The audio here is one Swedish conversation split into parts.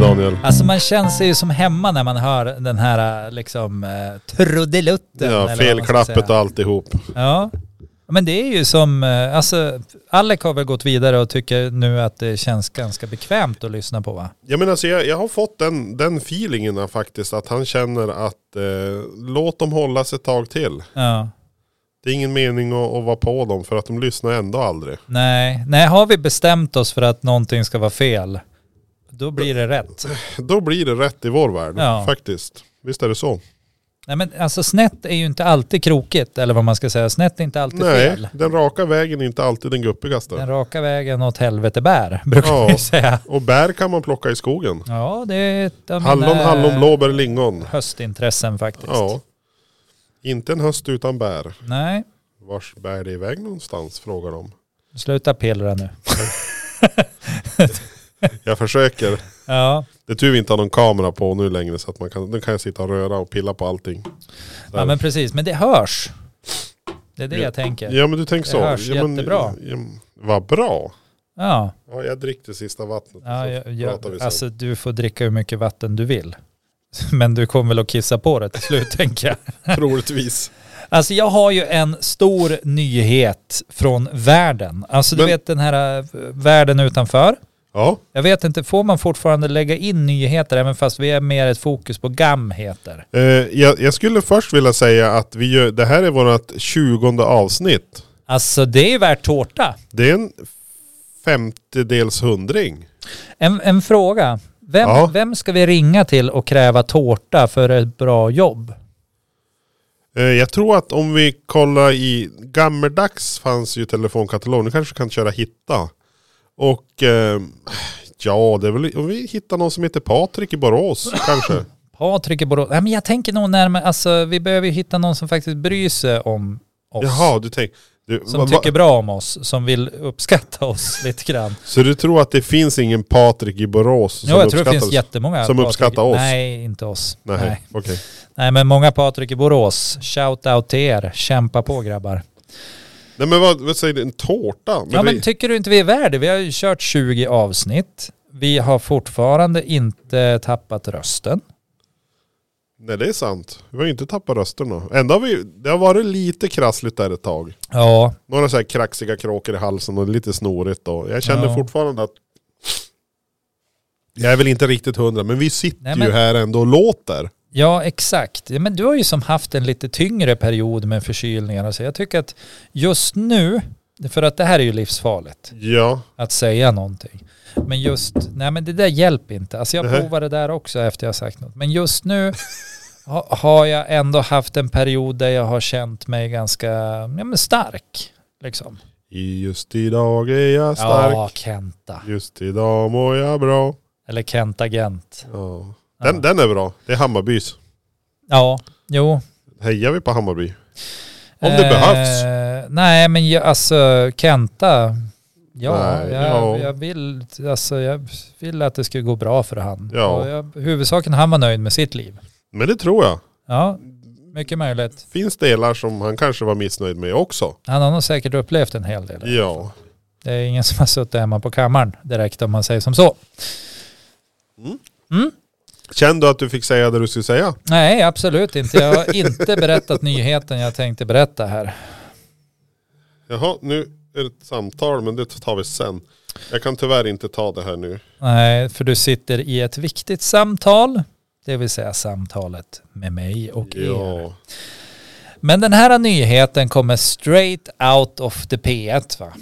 Daniel. Alltså man känner sig ju som hemma när man hör den här liksom eh, trudelutten. eller vad Ja, man ska felklappet och säga. alltihop. Ja. Men det är ju som, eh, alltså Alec har väl gått vidare och tycker nu att det känns ganska bekvämt att lyssna på va? Jag menar, så jag, jag har fått den, den feelingen här faktiskt. Att han känner att eh, låt dem hållas ett tag till. Ja. Det är ingen mening att, att vara på dem för att de lyssnar ändå aldrig. Nej. Nej, har vi bestämt oss för att någonting ska vara fel, då blir det rätt. Då blir det rätt i vår värld Ja. faktiskt. Visst är det så? Nej men alltså snett är ju inte alltid krokigt, eller vad man ska säga. Snett är inte alltid fel. Nej, den raka vägen är inte alltid den Den guppigaste. raka vägen åt helvete bär, brukar Ja. jag ju säga. Och bär kan man plocka i skogen. Ja, det är ett av Hallon, mina hallon, blåbär, lingon. höstintressen faktiskt. Ja. Inte en höst utan bär. Nej, Vars bär det iväg någonstans frågar de. sluta pillra nu. Jag försöker. Ja, Det är tur vi inte har någon kamera på nu längre så att man kan, nu kan jag sitta och röra och pilla på allting. Där. ja men precis. Men det hörs. Det är det Ja. jag tänker. ja men du tänker Det så. hörs ja, men, jättebra. Ja, men, vad bra. Ja, Ja, jag dricker det sista vattnet. ja så jag, pratar vi jag, sen. alltså du får dricka hur mycket vatten du vill. Men du kommer väl att kissa på det till slut tänker jag. Troligtvis. Alltså jag har ju en stor nyhet från världen. Alltså du Men- vet den här eh, världen utanför. Ja, Jag vet inte, får man fortfarande lägga in nyheter även fast vi är mer ett fokus på gamheter? eh, jag, jag skulle först vilja säga att vi gör, det här är vårt tjugonde avsnitt. Alltså det är ju värt tårta. Det är en femtedels hundring. En, en fråga. Vem, Ja. vem ska vi ringa till och kräva tårta för ett bra jobb? Eh, Jag tror att om vi kollar i gammeldags fanns ju telefonkatalog. Nu kanske vi kan köra hitta. Och eh, ja, det är väl om vi hittar någon som heter Patrik i Borås kanske. Patrik i Borås. Nej, men jag tänker nog närmare, alltså vi behöver ju hitta någon som faktiskt bryr sig om oss. Jaha, du tänker. Du, Som va- va- tycker bra om oss, som vill uppskatta oss lite grann. Så du tror att det finns ingen Patrik i Borås som jo, jag tror det finns oss? jättemånga. som Patrik- uppskattar oss. Nej, inte oss. Nej, Nej. okej. Nej, men många Patrik i Borås. Shout out till er. Kämpa på grabbar. Nej men vad, vad säger du, en tårta? Men ja, det, men tycker du inte vi är värda? Vi har ju kört 20 avsnitt. Vi har fortfarande inte tappat rösten. nej det är sant. Vi har ju inte tappat rösterna. Ändå har vi, det har varit lite krassligt där ett tag. Ja, Några så här kraxiga kråkor i halsen och lite snorigt då. Jag känner Ja. fortfarande att jag är väl inte riktigt hundra, men vi sitter Nej, men- ju här ändå och låter. Ja, exakt. Ja, Men du har ju som haft en lite tyngre period med förkylningar och så. Jag tycker att just nu, för att det här är ju livsfarligt Ja, att säga någonting. Men just, nej men det där hjälper inte. Alltså jag Nej. provade det där också efter jag sagt något. Men just nu ha, har jag ändå haft en period där jag har känt mig ganska ja, men stark. Liksom. I just idag är jag stark. Ja, Kenta. Just idag mår jag bra. Eller Kenta Gent. Ja. Den, den är bra. Det är Hammarbys. Ja, jo. Hejar vi på Hammarby? Om det behövs. Eh, Nej, men jag, alltså Kenta. Ja, Nej, jag, ja. Jag, vill, alltså, jag vill att det ska gå bra för han. Ja. Och Jag, huvudsaken han var nöjd med sitt liv. Men det tror jag. Ja, mycket möjligt. Finns delar som han kanske var missnöjd med också. Han har nog säkert upplevt en hel del. Ja. Det är ingen som har suttit hemma på kammaren direkt om man säger som så. Kände du att du fick säga det du skulle säga? Nej, absolut inte. Jag har inte berättat nyheten jag tänkte berätta här. Jaha, nu är det ett samtal men det tar vi sen. Jag kan tyvärr inte ta det här nu. Nej, för du sitter i ett viktigt samtal. Det vill säga samtalet med mig och er. Ja. Men den här nyheten kommer straight out of the P1 va?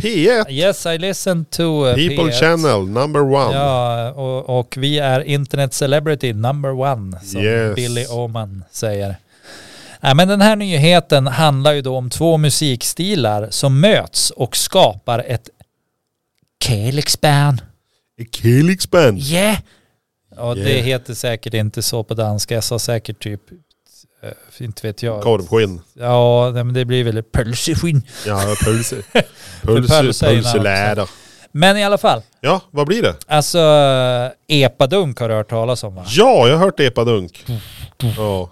P1, Yes, I listen to uh, People P1. Channel, number one. Ja, och, och vi är internet celebrity number one, som Yes. Billy Oman säger. Nej, men den här nyheten handlar ju då om två musikstilar som möts och skapar ett Kelixband. Kelix Band. Yeah! Ja, det Yeah. heter säkert inte så på danska. Jag sa säkert typ, eh, inte vet jag. Korvskinn. Ja, nej, men det blir väl pölseskinn. Ja, pölse. Pölse Pölse, är ju namn pölseläder. Men i alla fall, Ja, vad blir det? alltså epadunk har du hört talas om va? Ja, jag har hört epadunk. Ja.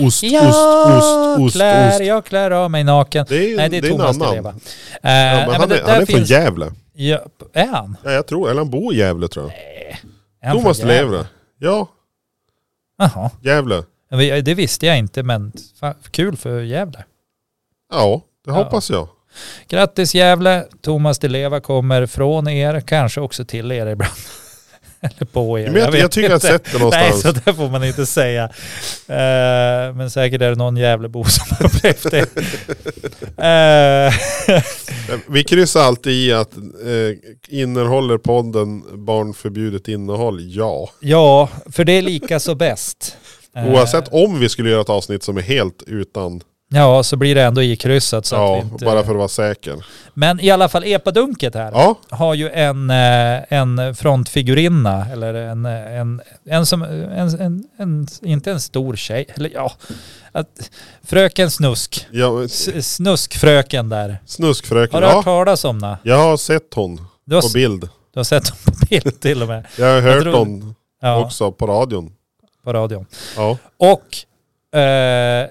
Ost, Ja, ost, ost, ost, klär, ost. jag klär av mig naken. Det är, Nej, det är en Thomas annan. Di Reva. Ja, Eh, men nej, han men är, det där han är från finns- Gävle. Ja, är han? Ja, jag tror, eller han bor i Gävle tror jag. Är han från Thomas Gävle? Levre. Ja, Jaha, Gävle. Men vi- det visste jag inte men fan, kul för Gävle. Ja, det Ja. hoppas jag. Grattis Gävle, Thomas Di Leva kommer från er, kanske också till er ibland. Eller på er. Men jag, jag, vet tycker jag har inte. sett det Nej, någonstans. så det får man inte säga. Eh, men säkert är det någon Gävlebo som har upplevt det. Eh, Vi kryssar alltid i att eh, innehåller podden barnförbjudet innehåll? Ja. ja, för det är lika så bäst. Eh, Oavsett om vi skulle göra ett avsnitt som är helt utan, Eh, Ja, så blir det ändå ikryssat. Så ja, att vi inte... bara för att vara säker. Men i alla fall epadunket här. Ja, har ju en, eh, en frontfigurinna, eller en, eh, en, en som, en, en, en, inte en stor tjej, eller ja, att, fröken Snusk, ja S- Snuskfröken där. Har snuskfröken. du hört Ja, talas om henne? jag har sett hon Du har, på s- bild. du har sett hon på bild till och med. Jag har hört tror- hon Ja, också på radion. på radion. Ja. Och eh,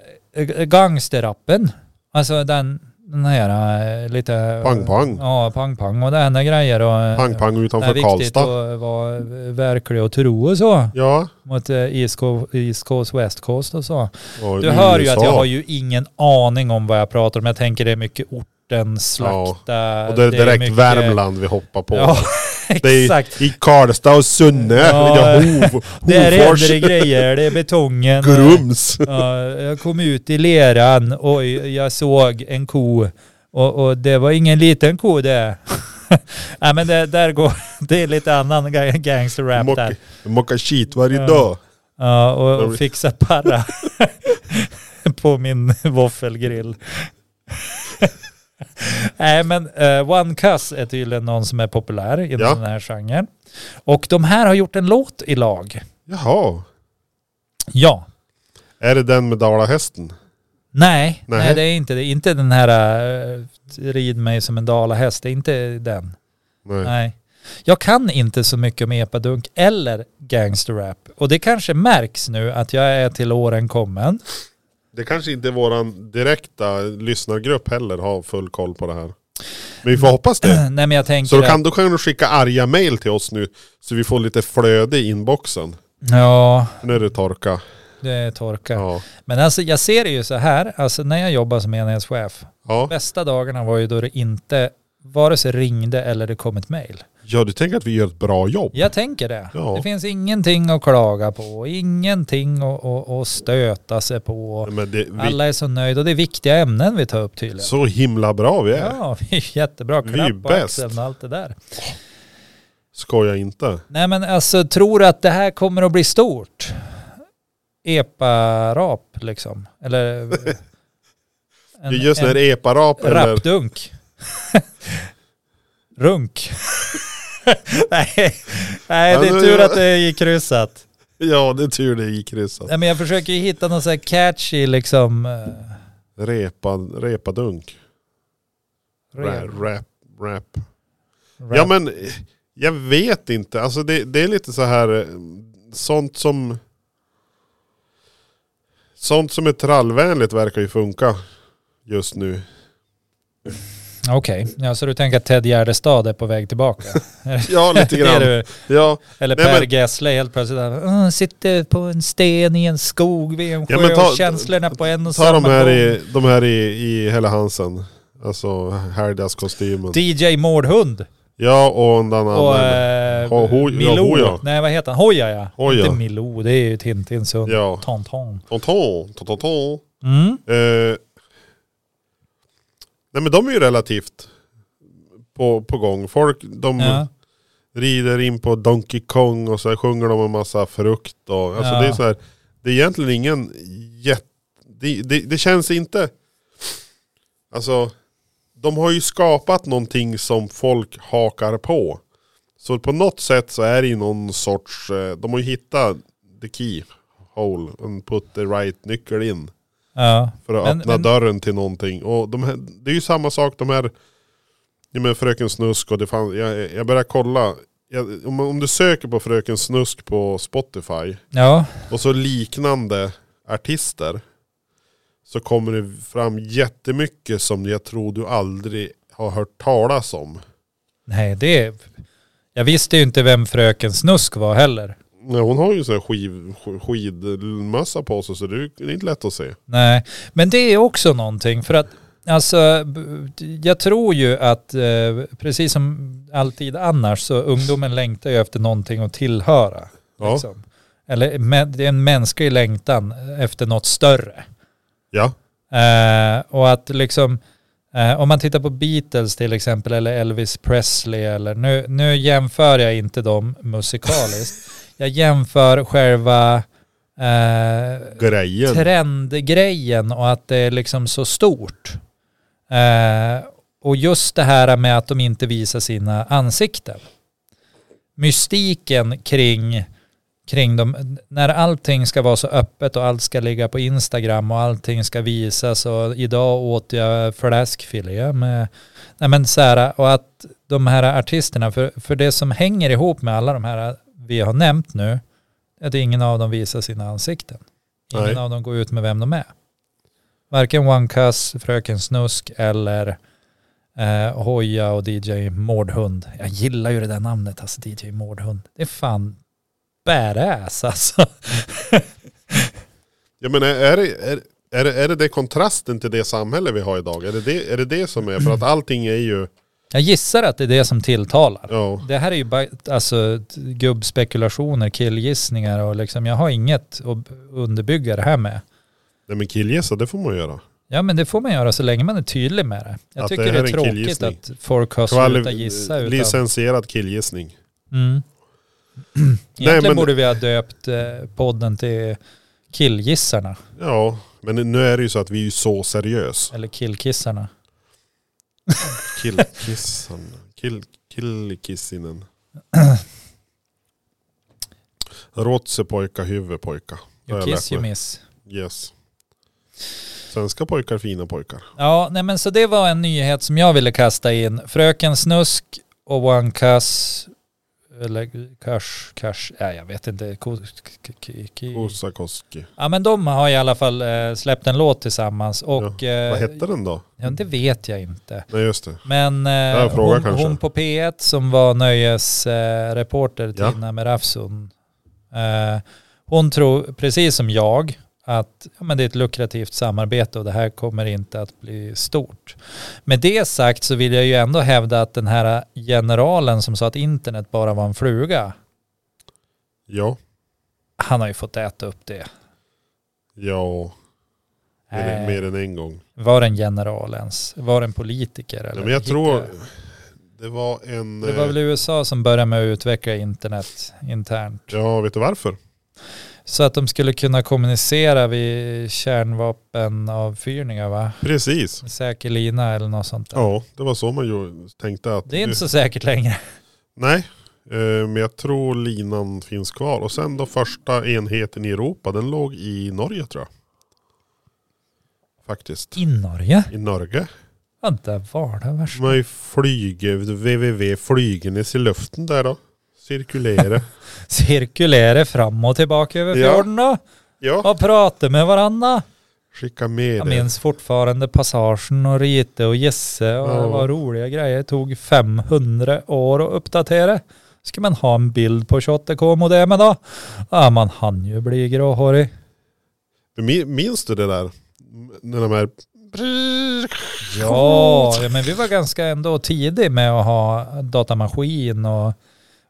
g- gangsterrappen, alltså den, den här eh, lite... Pang pang. Ja, pang-pang och det här grejer och... eh, Pang pang Det är utanför viktigt Karlstad. att vara verklig och tro och så. Ja. mot eh, East Coast, East Coast, West Coast och så. Och Du hör ju USA. att jag har ju ingen aning om vad jag pratar om. Jag tänker det är mycket orten, slakta. Och det är direkt mycket- Värmland vi hoppar på. Ja, det är exakt. i Karlstad och Sunne. Ja. Ja. Hov, Det är Hofors. äldre grejer, det är betongen. Grums. Ja, jag kom ut i leran, oj, jag såg en ko. Och, och det var ingen liten ko det. Nej men det, där går, det är lite annan ga- gangsterrap där. Mocka- Mocka skit varje Ja. dag. Ja, och, Där blir- och fixa parra på min våffelgrill. Nej, men eh, One Cuss är tydligen någon som är populär inom Ja. den här genren. Och de här har gjort en låt i lag. Jaha. Ja. Är det den med dalahästen? Nej, Nej. nej. det är inte det. är Inte den här eh, Rid mig som en dalahäst. Det är inte den. Nej. Nej. Jag kan inte så mycket om epadunk eller gangsterrap. Och det kanske märks nu att jag är till åren kommen. Det kanske inte våran direkta lyssnargrupp heller har full koll på det här. Men vi får hoppas det. Nej, men jag tänker Så då att- kan, då kan du skicka arga mail till oss nu så vi får lite flöde i inboxen. Ja, Nu är det torka. det är torka. Ja. Men alltså jag ser det ju så här, alltså när jag jobbar som enhetschef, Ja. bästa dagarna var ju då det inte vare sig ringde eller det kom ett mejl. ja, du tänker att vi gör ett bra jobb? Jag tänker det. Ja. Det finns ingenting att klaga på, ingenting att, att, att stöta sig på. Nej, Men det, vi, Alla är så nöjda och det är viktiga ämnen vi tar upp tydligen. så himla bra vi är. Ja, vi är jättebra. Vi är Klapp på bäst. axeln och allt det där. Skoja inte. Nej men alltså, tror du att det här kommer att bli stort? Epa-rap liksom? Eller... Det är just när det är eparap eller... Rappdunk. Runk. nej, nej, Alltså, det är tur att det gick kryssat. Ja, det är tur det gick kryssat. Nej, men jag försöker ju hitta någon sån här catchy liksom... eh, Repa, repadunk. Ra- rap- Rap, rap. rap. Ja men eh, jag vet inte. Alltså det, det är lite så här eh, sånt som sånt som är trallvänligt verkar ju funka just nu. Okej, ja, så du tänker att Ted Gärdestad är på väg tillbaka? Ja lite Det är grann. du. Ja, Eller Nej, Per men- Gessle helt plötsligt. Han "Åh, sitter på en sten i en skog vid en sjö Ja, men ta- och känslorna på en och ta samma de här gång. i, de här i, i Helle Hansen. Alltså helgdagskostymen. DJ Mårdhund. Ja och den Typ. Och andra. eh, Ho- ho- ja, Milou. Hoja. Nej vad heter han? Hoja ja. Hoja. Inte Milou, det är ju Tintins hund. Ja. Tonton. Tonton, tonton. Mm. Eh, nej men de är ju relativt på, på gång. Folk, de Ja. rider in på Donkey Kong och så här sjunger de en massa frukt och alltså Ja. det är så här. Det är egentligen ingen jätte... Det, det, det känns inte... Alltså, de har ju skapat någonting som folk hakar på. Så på något sätt så är det ju någon sorts... eh, De har ju hittat the key hole and put the right nyckel in. ja. För att Men- öppna men- dörren till någonting. Och de här, det är ju samma sak de här, ja men Fröken Snusk och det fanns, jag, jag börjar kolla. Jag, om, om du söker på Fröken Snusk på Spotify Ja. och så liknande artister. Så kommer det fram jättemycket som jag tror du aldrig har hört talas om. Nej det är... Jag visste ju inte vem fröken Snusk var heller. Nej, hon har ju sån här skiv, sk- skidmössa på sig så det är det är inte lätt att se. Nej, men det är också någonting för att alltså b- jag tror ju att eh, precis som alltid annars så ungdomen längtar ju efter någonting att tillhöra. Ja. Liksom. Eller men- det är en mänsklig längtan efter något större. Ja, Eh, och att liksom, eh, om man tittar på Beatles till exempel eller Elvis Presley eller, nu, nu jämför jag inte dem musikaliskt. jag jämför själva eh, grejen. trendgrejen och att det är liksom så stort. Eh, och just det här med att de inte visar sina ansikten. Mystiken kring, kring dem, när allting ska vara så öppet och allt ska ligga på Instagram och allting ska visas och idag åt jag fläskfilé med, nej men så här, och att de här artisterna, för, för det som hänger ihop med alla de här vi har nämnt nu, är att ingen av dem visar sina ansikten. Ingen Nej. av dem går ut med vem de är. Varken One Cuss, Fröken Snusk eller eh, Hoja och DJ Mårdhund. Jag gillar ju det där namnet, alltså DJ Mårdhund. Det är fan badass alltså. Ja men är, är, det- är, är, det- är det det kontrasten till det samhälle vi har idag? Är det det, är det, det som är? För att allting är ju, Jag gissar att det är det som tilltalar. ja. Det här är ju bara alltså, t- gubbspekulationer, killgissningar och liksom, jag har inget att b- underbygga det här med. Nej men killgissa det får man göra. Ja men det får man göra så länge man är tydlig med det. Jag Att tycker det det är, här är en tråkigt killgissning. att folk har slutat gissa. Utan, Licensierad killgissning. mm. Egentligen men- borde vi ha döpt eh, podden till Killgissarna Ja, men nu är det ju så att vi är ju så seriös. eller Killkissarna. Killkissan. Kill, killkissinen. Rotse pojka, huvud pojka. Det har You jag kiss lärt you mig. miss. Yes. Svenska pojkar, fina pojkar. Ja, nej men så det var en nyhet som jag ville kasta in. Fröken Snusk och One Cuss, eller Cash, Cash, ja, jag vet inte. Ko- k- k- k- Osakoski. Ja men de har i alla fall eh, släppt en låt tillsammans och... eh, Vad hette den då? Ja, det vet jag inte. Nej just det. Men är en eh, fråga hon, kanske. hon på P1 som var nöjesreporter eh, reporter till Ja. Tina Merafzun. Eh, hon tror, precis som jag, att ja, men det är ett lukrativt samarbete och det här kommer inte att bli stort. Med det sagt så vill jag ju ändå hävda att den här generalen som sa att internet bara var en fluga, Ja. han har ju fått äta upp det. Ja. Mer, än- Eh, mer än en gång. Var det en general ens? Var det en politiker? Eller Nej, men jag Hitler? tror det var en... eh, Det var väl USA som började med att utveckla internet internt. Ja, vet du varför? Så att de skulle kunna kommunicera vid kärnvapenavfyrningar va? Precis. Säker lina eller något sånt där. Ja, det var så man ju tänkte att... Det är inte så säkert längre. Nej, eh, men jag tror linan finns kvar. Och sen då första enheten i Europa, den låg i Norge tror jag. Faktiskt. I Norge? I Norge. Ja, där var det värst. Man flyger, www, flygandes i luften där då. Cirkulera. Cirkulera fram och tillbaka över Ja. fjorden då. ja, Och prata med varandra. skicka med Jag det. minns fortfarande passagen och Rite och Jesse och Ja. det var roliga grejer. Det tog 500 år att uppdatera. Ska man ha en bild på 28k-modemen då? Ja, man hann ju bli gråhårig. Mi- Minns du det där? När de här... Ja, ja, men vi var ganska ändå tidig med att ha datamaskin och,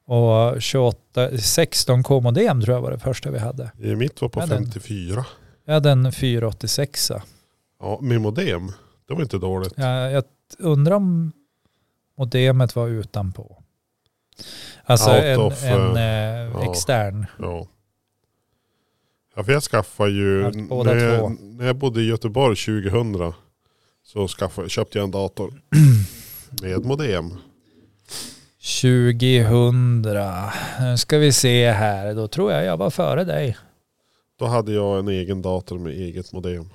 och 28, 16K modem tror jag var det första vi hade. Eh, Mitt var på Ja, den. 54. Jag hade en 486. Ja, med modem. Det var inte dåligt. Jag, jag undrar om modemet var utanpå. Alltså Out en, of, en eh, eh, ja. extern. Ja. Ja för jag skaffade ju, Allt båda när jag, två. när jag bodde i Göteborg 2000 så skaffade, köpte jag en dator med modem. 2000. Nu ska vi se här. Då tror jag jag var före dig. Då hade jag en egen dator med eget modem.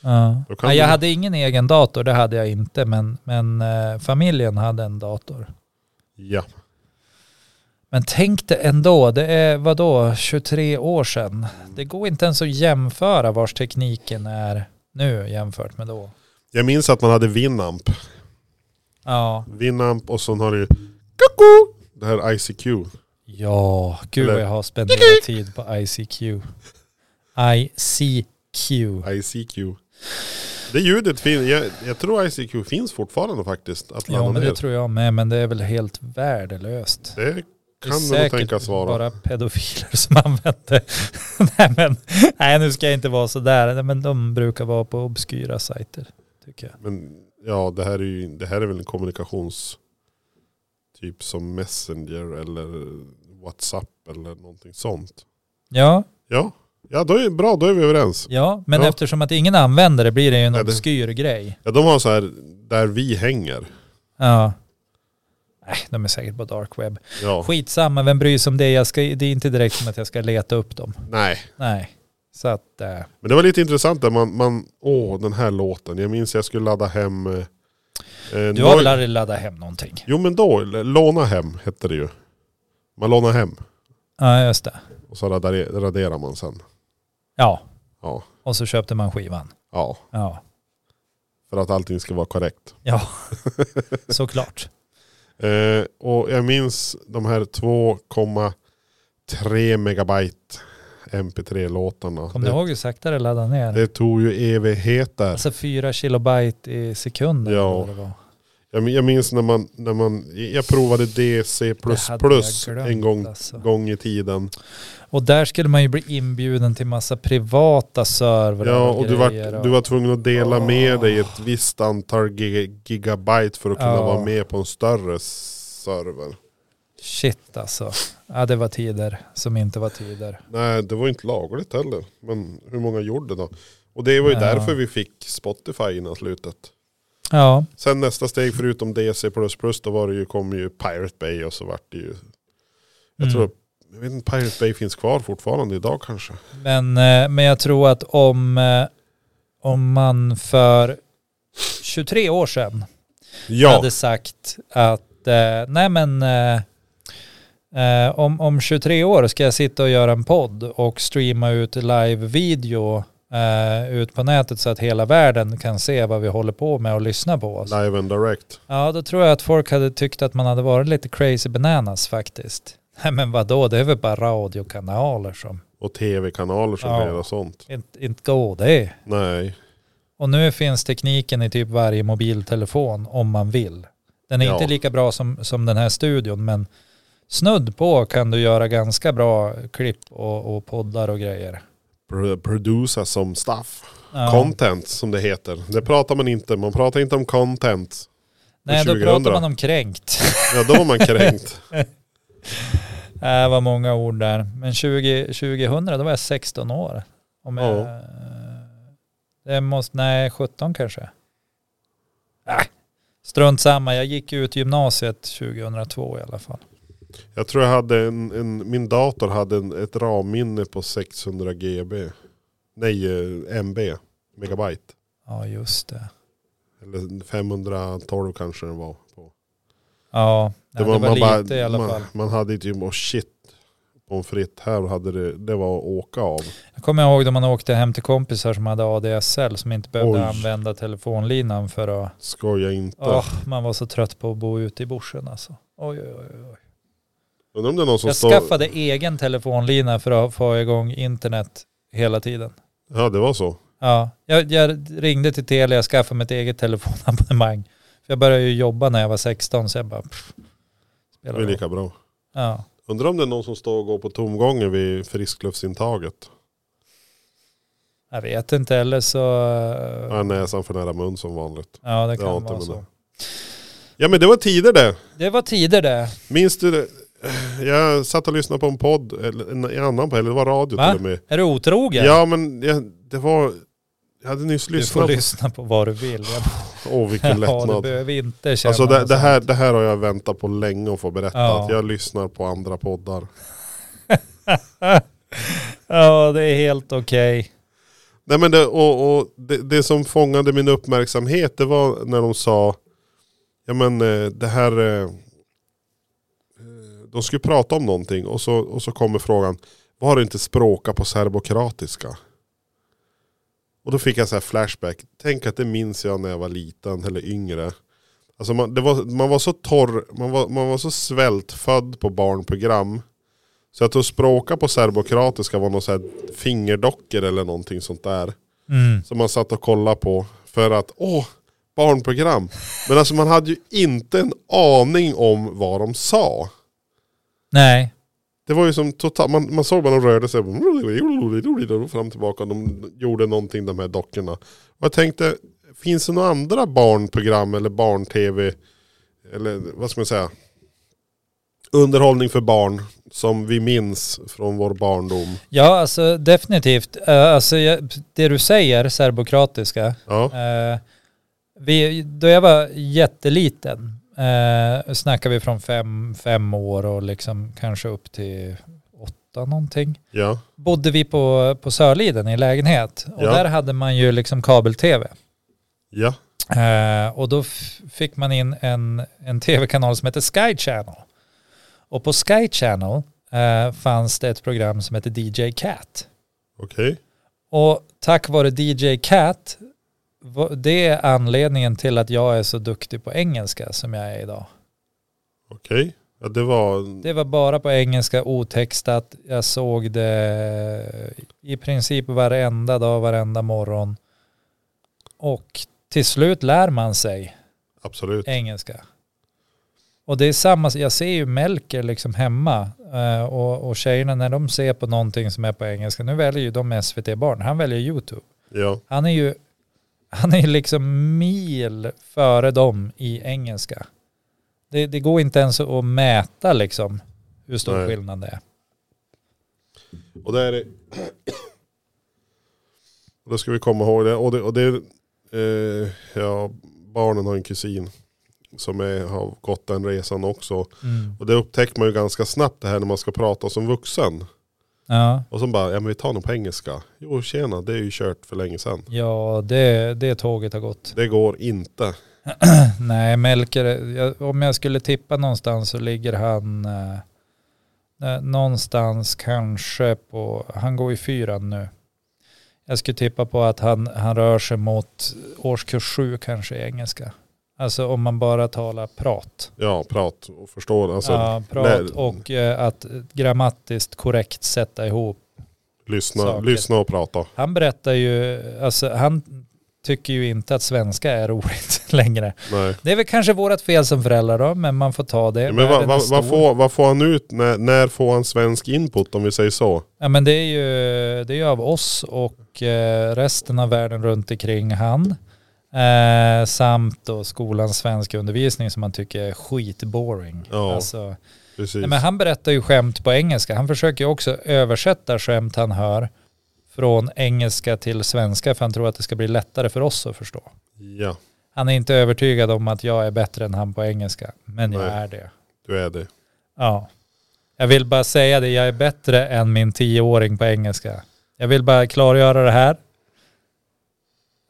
Ja. Då kan Nej, jag du- hade ingen egen dator, det hade jag inte. Men, men eh, familjen hade en dator. Ja, Men tänk dig ändå, det är vadå, 23 år sedan. Det går inte ens att jämföra vars tekniken är nu jämfört med då. jag minns att man hade Winamp. Ja, Winamp och sen har du Koko! Det här ICQ. Ja, gud vad Eller- jag har spenderat tid på ICQ. ICQ. ICQ. Det ljudet finns. Jag, jag tror ICQ finns fortfarande faktiskt. Att ladda Ja, men ner. det tror jag med, men det är väl helt värdelöst. det Det är kan det nog säkert tänkas vara. bara pedofiler som använder. nej, men, nej, nu ska jag inte vara sådär. Nej, Men de brukar vara på obskyra sajter, tycker jag. Men ja, det här är ju det här är väl en kommunikations... Typ som Messenger eller WhatsApp eller någonting sånt. Ja, Ja, ja då är bra, då är vi överens. ja men Ja. eftersom att ingen använder det blir det ju en Nej, det- obskyr grej. Ja, de har så här, där vi hänger. Ja. Nej, de är säkert på dark web. Ja, Skitsamma, vem bryr sig om det? Jag ska, det är inte direkt som att jag ska leta upp dem. nej. Nej. Så att, eh, Men det var lite intressant där man, man åh den här låten. Jag minns jag skulle ladda hem... Eh, du har Noi- väl aldrig laddat hem någonting? Jo men då, l- låna hem hette det ju. Man lånar hem Ja, just det. och så radare- raderar man sen. Ja, Ja, och så köpte man skivan. ja. Ja, För att allting ska vara korrekt. ja. såklart. Eh, och jag minns de här 2,3 megabyte MP3-låtarna. Kommer du det, ihåg hur sakta det laddade ner? det tog ju evigheter. Alltså fyra kilobyte i sekunden. Ja. eller vad det var. Jag, min- jag minns när man, när man, jag provade DC++ Det hade jag glömt, en gång, Alltså. gång i tiden. Och där skulle man ju bli inbjuden till massa privata servrar Ja, och du grejer var, och- du var tvungen att dela Åh. med dig ett visst antal gi- gigabyte för att kunna Ja. vara med på en större server. Shit alltså. Ja, det var tider som inte var tider. Nej, det var ju inte lagligt heller. Men hur många gjorde då? Och det var ju Ja. därför vi fick Spotify innan slutet. Ja, Sen nästa steg förutom DC++ då var det ju, kom ju Pirate Bay och så vart det ju. Jag Mm. tror, jag vet inte, Pirate Bay finns kvar fortfarande idag kanske. men, eh, men jag tror att om, eh, om man för 23 år sedan Ja, hade sagt att eh, nej men eh, eh, om, om 23 år ska jag sitta och göra en podd och streama ut live-video eh, ut på nätet så att hela världen kan se vad vi håller på med och lyssna på oss. live and direct. Ja, då tror jag att folk hade tyckt att man hade varit lite crazy bananas faktiskt. Nej men vadå, det är väl bara radiokanaler som Och tv-kanaler som Ja. gör sånt. inte, inte går det. Nej. Och nu finns tekniken i typ varje mobiltelefon om man vill. Den är Ja. inte lika bra som, som den här studion men snudd på kan du göra ganska bra klipp och, och poddar och grejer. Pro- Producer som stuff. Ja. Content som det heter. Det pratar man inte. Man pratar inte om content. Nej, då 2000. pratar man om kränkt. Ja, då var man kränkt. Det Äh, var många ord där. Men 20, 2000, då var jag 16 år. Om jag, Ja. det måste, nej, 17 kanske. Äh, strunt samma, jag gick ut gymnasiet 2002 i alla fall. Jag tror jag hade en, en min dator hade en, ett RAM-minne på 600 GB. Nej, eh, MB. Megabyte. Ja, just det. Eller 512 kanske den var. På. Ja, det var, det var lite i alla fall. man, man hade inte ju, oh shit. Pommes frites här hade det, det var att åka av. Jag kommer ihåg då man åkte hem till kompisar som hade ADSL som inte behövde Oj. använda telefonlinan för att... Skoja inte. Åh, man var så trött på att bo ute i bushen alltså. Oj, oj, oj. oj. Undrar om det är någon som Jag står... skaffade egen telefonlina för att få igång internet hela tiden. Ja, det var så. Ja, jag, jag ringde till Telia och skaffade mitt eget telefonabonnemang. För jag började ju jobba när jag var 16 så jag bara... Pff, Det spelar är roll. lika bra. ja. Undrar om det är någon som står och går på tomgången vid friskluftsintaget. Jag vet inte, eller så... eh, Har näsan för nära mun som vanligt. Ja, det Det kan har inte vara med så. det. Ja men det var tider det. Det var tider det. Minns du det? Jag satt och lyssnade på en podd, eller en en annan podd, eller det var radio Va? till och med. Är du otrogen? Ja men jag, det var, jag hade nyss Du får lyssnat. lyssna på vad du vill. Jag Åh vilken ja, du lättnad. behöver inte känna Alltså det, något det, här, sånt. det här har jag väntat på länge att få berätta. Ja. Att jag lyssnar på andra poddar. Ja, det är helt okej. Nej men det, och, och det, det som fångade min uppmärksamhet det var när de sa, ja men eh, det här, eh, eh, de skulle prata om någonting och så, och så kommer frågan, var det inte språka på serbokratiska? Och då fick jag så här flashback, tänk att det minns jag när jag var liten eller yngre. Alltså man, det var, man var så torr, man var, man var så svältfödd på barnprogram. Så att att språka på serbokroatiska var någon så här fingerdockor eller någonting sånt där. Mm. Som man satt och kollade på för att, åh, barnprogram. Men alltså man hade ju inte en aning om vad de sa. Nej, Det var ju som totalt, man, man såg bara de rörde sig fram och tillbaka. De gjorde någonting de här dockorna. Och jag tänkte, finns det några andra barnprogram eller barn-tv? Eller vad ska man säga? Underhållning för barn som vi minns från vår barndom. ja alltså definitivt. Eh, Alltså jag, det du säger, serbokroatiska, Ja, Eh, vi, då jag var jätteliten, eh, snackar vi från fem, fem år och liksom kanske upp till åtta någonting, ja, bodde vi på, på Sörliden i lägenhet. Och Ja. där hade man ju liksom kabel-tv. ja. Eh, och då f- fick man in en, en tv-kanal som hette Sky Channel. Och på Sky Channel eh, fanns det ett program som hette DJ Cat. Okej. Och tack vare DJ Cat, va- det är anledningen till att jag är så duktig på engelska som jag är idag. Okej. Ja, det var... Det var bara på engelska, otextat. Jag såg det i princip varenda dag, varenda morgon. Och till slut lär man sig Absolut. engelska. Och det är samma, jag ser ju Melker liksom hemma eh, och, och tjejerna när de ser på någonting som är på engelska, nu väljer ju de SVT-barn, han väljer YouTube. Ja. Han är ju han är ju liksom mil före dem i engelska. Det, det går inte ens att mäta liksom hur stor Nej. skillnad det är. Och där är och Då ska vi komma ihåg det. Och det, och det är, eh, ja, barnen har en kusin som är, har gått den resan också. Mm. Och det upptäcker man ju ganska snabbt det här när man ska prata som vuxen. Ja, Och som bara, ja men vi tar nog på engelska. Jo tjena, det är ju kört för länge sedan. ja det, det tåget har gått. Det går inte. Nej, Melker, jag, om jag skulle tippa någonstans så ligger han eh, eh, någonstans kanske på, han går i fyran nu. Jag skulle tippa på att han, han rör sig mot årskurs sju kanske i engelska. Alltså om man bara talar prat. Ja, prat och förstår. Alltså, ja, prat lär- och eh, att grammatiskt korrekt sätta ihop. lyssna, saker. lyssna och prata. Han berättar ju, alltså han tycker ju inte att svenska är roligt längre. Nej. Det är väl kanske vårat fel som föräldrar då, men man får ta det. Ja, Men vad, Världen är vad, vad, stor. får, vad får han ut, när, när får han svensk input om vi säger så? Ja men det är ju, det är ju av oss och eh, resten av världen runt omkring han. Eh, samt då skolans svenska undervisning som man tycker är skitboring. Ja, Alltså, Precis. Nej, men han berättar ju skämt på engelska. Han försöker ju också översätta skämt han hör från engelska till svenska för han tror att det ska bli lättare för oss att förstå. Ja, Han är inte övertygad om att jag är bättre än han på engelska, men jag Nej. är det. du är det. Ja. Jag vill bara säga det, jag är bättre än min tioåring på engelska. Jag vill bara klargöra det här.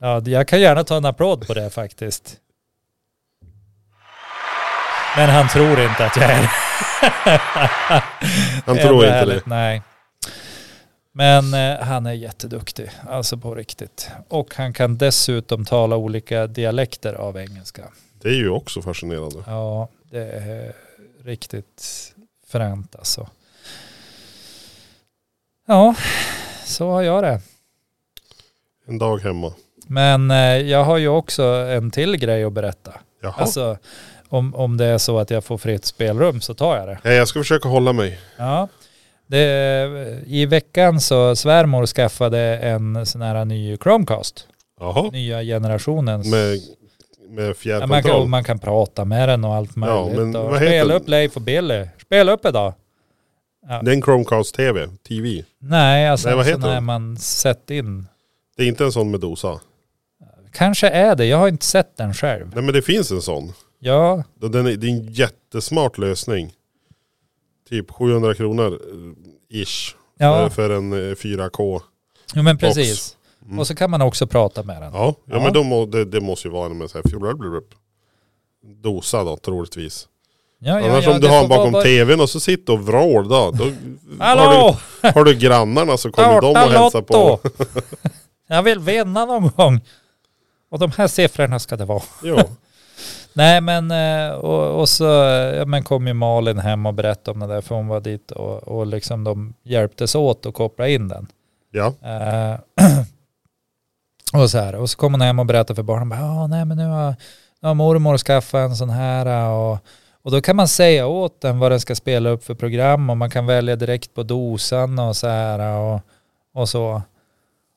Ja, jag kan gärna ta en applåd på det faktiskt. Men han tror inte att jag är Han Ändå tror inte det. härligt, Nej. Men eh, han är jätteduktig, alltså på riktigt. Och han kan dessutom tala olika dialekter av engelska. Det är ju också fascinerande. Ja, det är riktigt fränt alltså. Ja, så har jag det. En dag hemma. Men eh, jag har ju också en till grej att berätta. Jaha. Alltså, om, om det är så att jag får fritt spelrum så tar jag det. Nej, jag ska försöka hålla mig. Ja. Det, I veckan så svärmor skaffade en sån här ny Chromecast. Jaha. Nya generationens. Med, med ja, man, kan, fjärrkontroll. man kan prata med den och allt möjligt. men och vad heter spela den? upp Leif och Billy. Spela upp idag. Det är en Chromecast TV. TV. Nej, alltså Nej, vad en heter sån här den? man sett in. Det är inte en sån med dosa. Kanske är det, jag har inte sett den själv. Nej men det finns en sån. Ja, Den är, det är en jättesmart lösning. Typ 700 kronor eh, ish. ja. För, för en eh, 4K. Jo, men precis. Mm. Och så kan man också prata med den. Ja, ja, Ja. men då må, det, det måste ju vara en med så här fjolblubblubblub. dosa då troligtvis. Ja, ja, Annars ja, om du det har får den bakom vara- tvn och så sitter och vrål då. då har du Hallå! Har du grannarna så kommer de och hälsa på. Jag vill vinna någon gång. Och de här siffrorna ska det vara. Ja. Nej men eh, och, och så ja, men kom ju Malin hem och berättade om det där för hon var dit och, och liksom de hjälptes åt att koppla in den. Ja. Eh, och så här, och så kom hon hem och berättade för barnen, bara, "Ja, nej men nu har, nu har mormor skaffat en sån här eh, och, och då kan man säga åt den vad den ska spela upp för program och man kan välja direkt på dosan och så här eh, och, och så.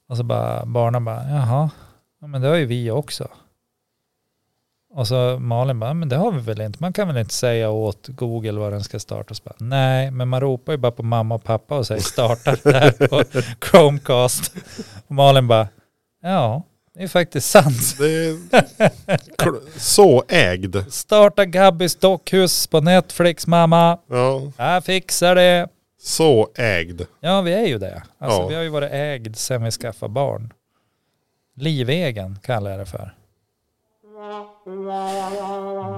Och så bara barnen bara, jaha, ja, men det har ju vi också. Och så Malin bara, men det har vi väl inte, man kan väl inte säga åt Google vad den ska starta. Och så bara, Nej, men man ropar ju bara på mamma och pappa och säger starta det här på Chromecast. Och Malin bara, ja, det är faktiskt sant. Det är kl- så ägd. Starta Gabbys dockhus på Netflix mamma. Ja. Jag fixar det. Så ägd. Ja, vi är ju det. Alltså Ja. vi har ju varit ägd sedan vi skaffade barn. Livegen kallar jag det för.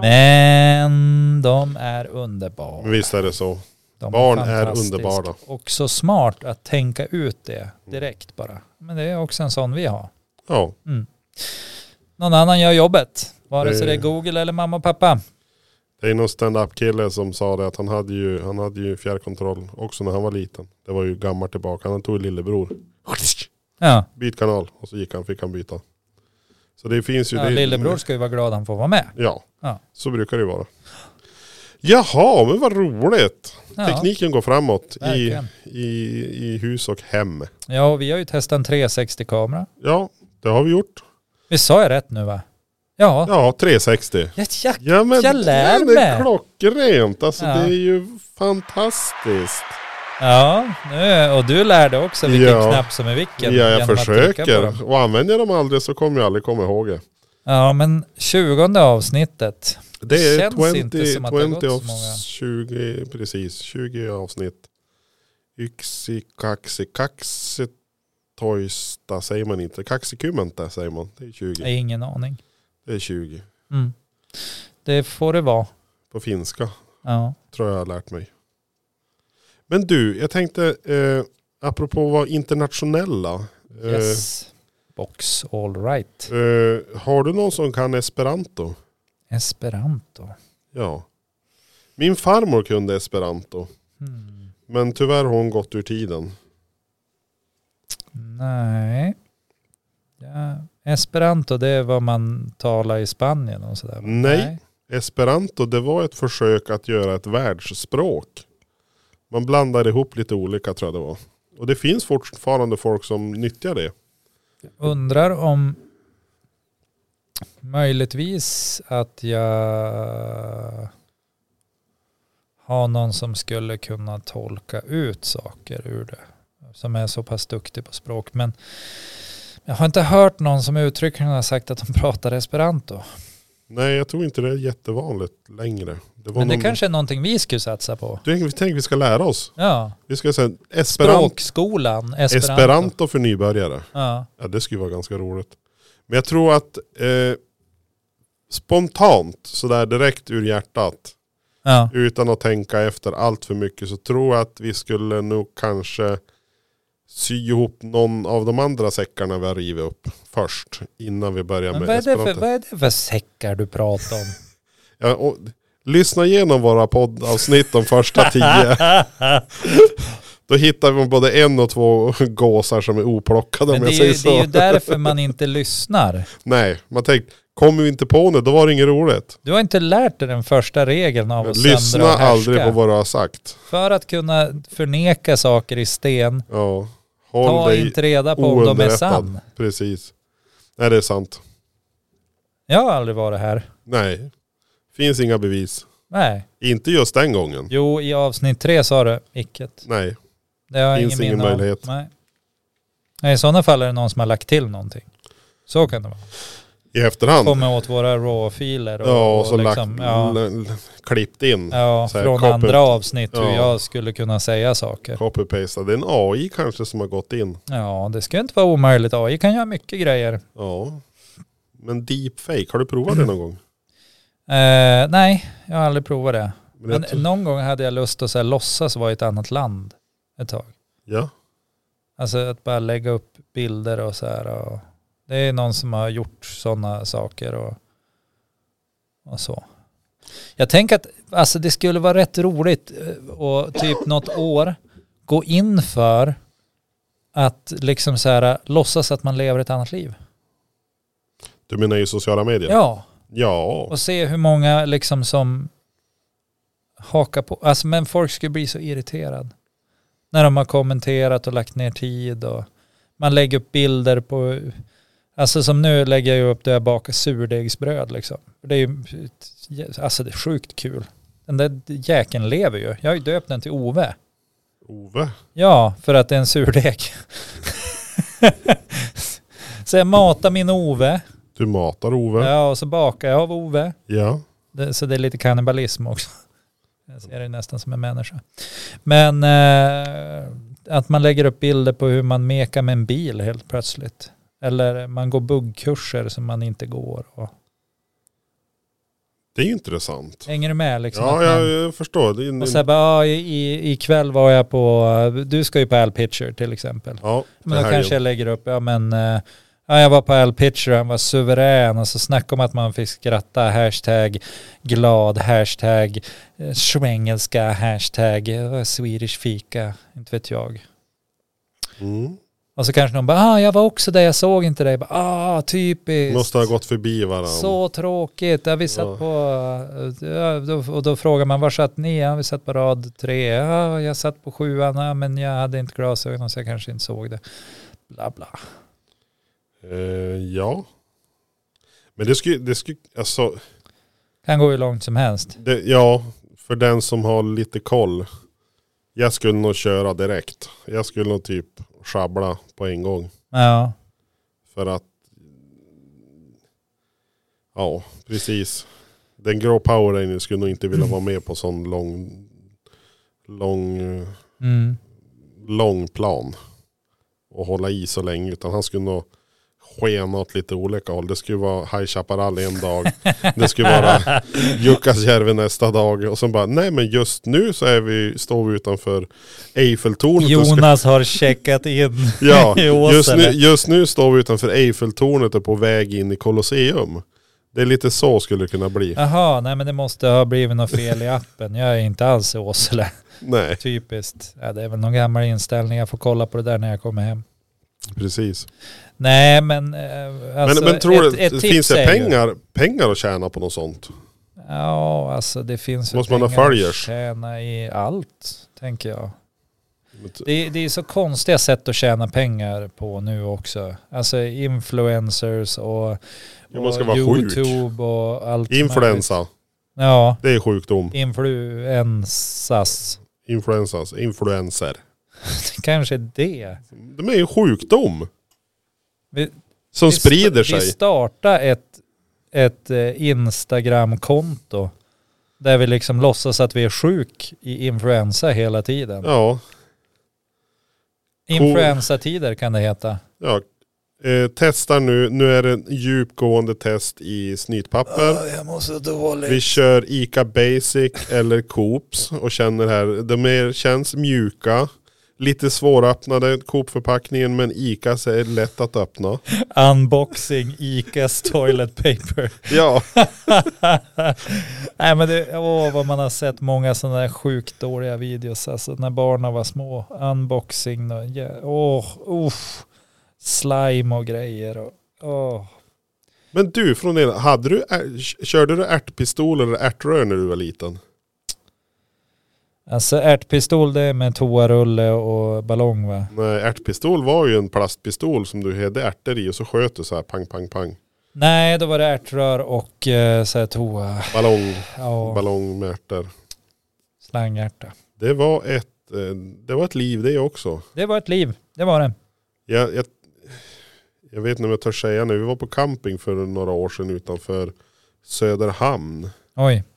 Men de är underbara. Men Visst är det så. De Barn är fantastiska. underbara. Och så smart att tänka ut det direkt bara. Men det är också en sån vi har. Ja. Någon annan gör jobbet. Vare sig Det- det är Google eller mamma och pappa. Det är någon stand-up kille som sa det att han hade, ju, han hade ju fjärrkontroll också när han var liten. Det var ju gammalt tillbaka. Han tog lillebror. Ja, Byt kanal. Och så gick han, fick han byta. Så det finns ju ja det. lillebror ska ju vara glad han får vara med. Ja. Ja. Så brukar det ju vara. Jaha, men vad roligt. Ja, Tekniken går framåt i, verkligen. i, i hus och hem. ja, och vi har ju testat en 360-kamera. Ja, det har vi gjort. Vi sa jag rätt nu va? Ja, Ja, 360. ja. ja. Ja men Jag lär det är mig. klockrent. Alltså Ja. det är ju fantastiskt. ja nu, och du lärde också vilken Ja. knapp som är vilken. ja, genom jag att trycka på dem. försöker. Och använder jag dem aldrig så kommer jag aldrig komma ihåg det. Ja, men 20 avsnittet. Det är Känns 20, inte som att det har 20 gått av så många. 20, precis, 20 avsnitt. Yksi, kaksi, kaksi, toista säger man inte. Kaksikymmenta säger man. Det är 20. Jag har ingen aning. Det är 20. Mm. Det får det vara. På finska Ja. tror jag jag har lärt mig. Men du, jag tänkte, eh, apropå att vara internationella. eh, Yes. Box all right. Eh, har du någon som kan esperanto? Esperanto. Ja. Min farmor kunde esperanto. Hmm. Men tyvärr har hon gått ur tiden. Nej. Ja. Esperanto det är vad man talar i Spanien och sådär. va? Nej. Esperanto det var ett försök att göra ett världsspråk. Man blandar ihop lite olika tror jag det var. Och det finns fortfarande folk som nyttjar det. Undrar om möjligtvis att jag har någon som skulle kunna tolka ut saker ur det. Som är så pass duktig på språk. Men jag har inte hört någon som uttryckligen har sagt att de pratar esperanto. Nej jag tror inte det är jättevanligt längre. Det var Men det någon... kanske är någonting vi skulle satsa på. Du, tänk vi ska lära oss. Ja, Vi ska säga esperanto, språkskolan, esperanto. esperanto för nybörjare. Ja. Ja, det skulle vara ganska roligt. Men jag tror att eh, spontant, sådär direkt ur hjärtat, Ja. utan att tänka efter allt för mycket, så tror jag att vi skulle nog kanske sy ihop någon av de andra säckarna vi har rivit upp först, innan vi börjar Men med vad, är det för, Esperanto. vad är det för säckar du pratar om? Ja, och, lyssna igenom våra poddavsnitt de första tio. Då hittar vi både en och två gåsar som är oplockade Men om det jag är, säger ju, så. det är ju därför man inte lyssnar. Nej, man tänkte, kommer vi inte på nu, då var det inget roligt. Du har inte lärt dig den första regeln av att Lyssna söndra och aldrig på härska. vad du har sagt. För att kunna förneka saker i sten, Ja. Håll ta dig inte reda på om de är ounderrättad. sann. Precis. Nej, det är sant. Jag har aldrig varit här. Nej. Finns inga bevis. Nej. Inte just den gången. Jo, i avsnitt tre sa du icket. Nej. Det har jag Finns ingen, ingen minne av. möjlighet. Nej. Nej, i sådana fall är det någon som har lagt till någonting. Så kan det vara. I efterhand. Kommer åt våra raw-filer och, ja, och så liksom, lagt, ja, l- l- klippt in. ja, så här, från copy- andra avsnitt hur Ja. jag skulle kunna säga saker. Copy-pasta. Det är en AI kanske som har gått in. Ja, det ska inte vara omöjligt. AI kan göra mycket grejer. Ja. Men deepfake, har du provat det någon gång? Eh, nej, jag har aldrig provat det. Men jag Men tror- någon gång hade jag lust att så här, låtsas vara i ett annat land ett tag. ja. Alltså att bara lägga upp bilder och så här. Och det är någon som har gjort sådana saker. Och och så. Jag tänker att alltså, det skulle vara rätt roligt eh, och typ något år gå in för att liksom så här låtsas att man lever ett annat liv. Du menar ju sociala medier? Ja, Ja. och se hur många liksom som hakar på. Alltså men folk skulle bli så irriterad. När de har kommenterat och lagt ner tid och man lägger upp bilder på, alltså som nu lägger jag ju upp där jag bakar surdegsbröd liksom. Det är ju, alltså det är sjukt kul. Den där jäkeln lever ju. Jag har ju döpt den till Ove. Ove. Ja, för att det är en surdeg. så jag matar min Ove. Du matar Ove. Ja. Ja, och så bakar jag av Ove. Det, så det är lite kannibalism också. Jag ser det nästan som en människa. Men eh, att man lägger upp bilder på hur man mekar med en bil helt plötsligt. Eller man går buggkurser som man inte går. Och, Det är ju intressant. hänger du med liksom? Ja, Att man, jag, jag förstår. Det är en, och så här, bara, ja, i- i, ikväll var jag på, du ska ju på Al Pitcher till exempel. ja, det Men då här är kanske ju- jag lägger upp, ja men eh, ja, jag var på Al Pitcher och han var suverän och så snackade om att man fick skratta, hashtag glad, hashtag eh, svengelska, hashtag eh, Swedish fika, inte vet jag. mm. Och så kanske någon bara, ah, jag var också där, jag såg inte dig. Bara, ah, typiskt. Måste ha gått förbi varandra. Så tråkigt. Ja, vi satt Ja. på, ja, då, och då frågar man var satt ni? Ja, vi satt på rad tre. Ja, jag satt på sjuan, ja, men jag hade inte glasögon så jag kanske inte såg det. Bla bla. Eh, ja. Men det skulle, det skulle, alltså, Kan gå hur långt som helst. det, ja, för den som har lite koll. Jag skulle nog köra direkt. Jag skulle nog typ sjabbla på en gång. Ja. För att, ja, precis. Den grå power Rangers skulle nog inte vilja vara med på sån lång, lång, eh, Mm. lång plan. Och hålla i så länge. Utan han skulle nog skena åt lite olika håll. Det skulle vara High Chaparral en dag. Det skulle vara Jukkasjärvi nästa dag. Och sen bara, nej men just nu så är vi, står vi utanför Eiffeltornet. och ska- Jonas har checkat in. Ja, i just nu, Åsele. just nu står vi utanför Eiffeltornet och på väg in i Colosseum. Det är lite så skulle det kunna bli. Jaha, nej men det måste ha blivit något fel i appen. Jag är inte alls i Åsele. Nej, Typiskt. Ja, det är väl någon gammal inställning. Jag får kolla på det där när jag kommer hem. precis. Nej men... eh, Alltså, men, men tror du, tips finns det är ju- pengar, pengar att tjäna på något sånt? Ja, alltså det finns väl Måste man ha pengar att följers? tjäna i allt, tänker jag. Det, det är så konstiga sätt att tjäna pengar på nu också. Alltså influencers och, Ja, man ska och vara sjuk. YouTube och allt. möjligt. Influensa, Ja, det är sjukdom. influensas. Influensas, influenser. Kanske det. De är ju sjukdom. Vi- Som Vi sta- Vi sprider sig. startar ett, ett eh, Instagram-konto där vi liksom låtsas att vi är sjuk i influensa hela tiden. Ja, Influensatider kan det heta. ja. Eh, testar nu, nu är det en djupgående test i snytpapper. Jag mår så dåligt. Vi kör Ica Basic eller Coops och känner här, de är, känns mjuka. Lite svåröppnade Coop-förpackningen men Icas är lätt att öppna. Unboxing Icas toilet paper. Ja, Nej men det, åh vad man har sett många sådana där sjukt dåliga videos. Alltså när barnen var små. Unboxing och jä- åh, uff. Slime och grejer och åh. men du från hela, hade du, ä- körde du ärtpistol eller ärtrör när du var liten? Alltså ärtpistol det är med toarulle och ballong va? Nej, ärtpistol var ju en plastpistol som du hade ärtor i och så sköt du så här pang, pang, pang. Nej då var det ärtrör och eh, så här toa. Ballong, Ja, ballong med ärtor. slangärta. Det var ett, eh, det var ett liv det också. Det var ett liv, det var det. Jag, jag, jag vet inte om jag törs säga nu. Vi var på camping för några år sedan utanför Söderhamn. Oj.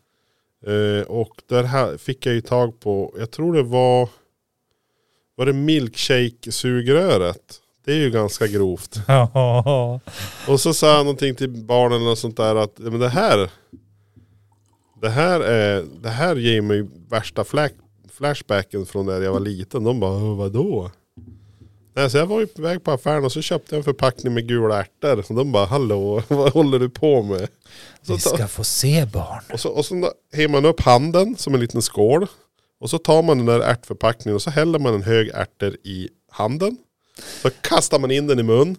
Eh, och där här fick jag ju tag på, jag tror det var, var det milkshake-sugröret? Det är ju ganska grovt. Och så sa han någonting till barnen och sånt där att "Ja, men det här, det här, är, det här ger mig värsta flack, flashbacken från när jag var liten. De bara, "Åh, vadå? Nej, så jag var ju på väg på affären och så köpte jag en förpackning med gula ärtor. Så de bara, hallå, vad håller du på med? Så Ni ta- ska få se barn. Och så, och så hänger man upp handen som en liten skål. Och så tar man den där ärtförpackningen och så häller man en hög ärtor i handen. Så kastar man in den i mun.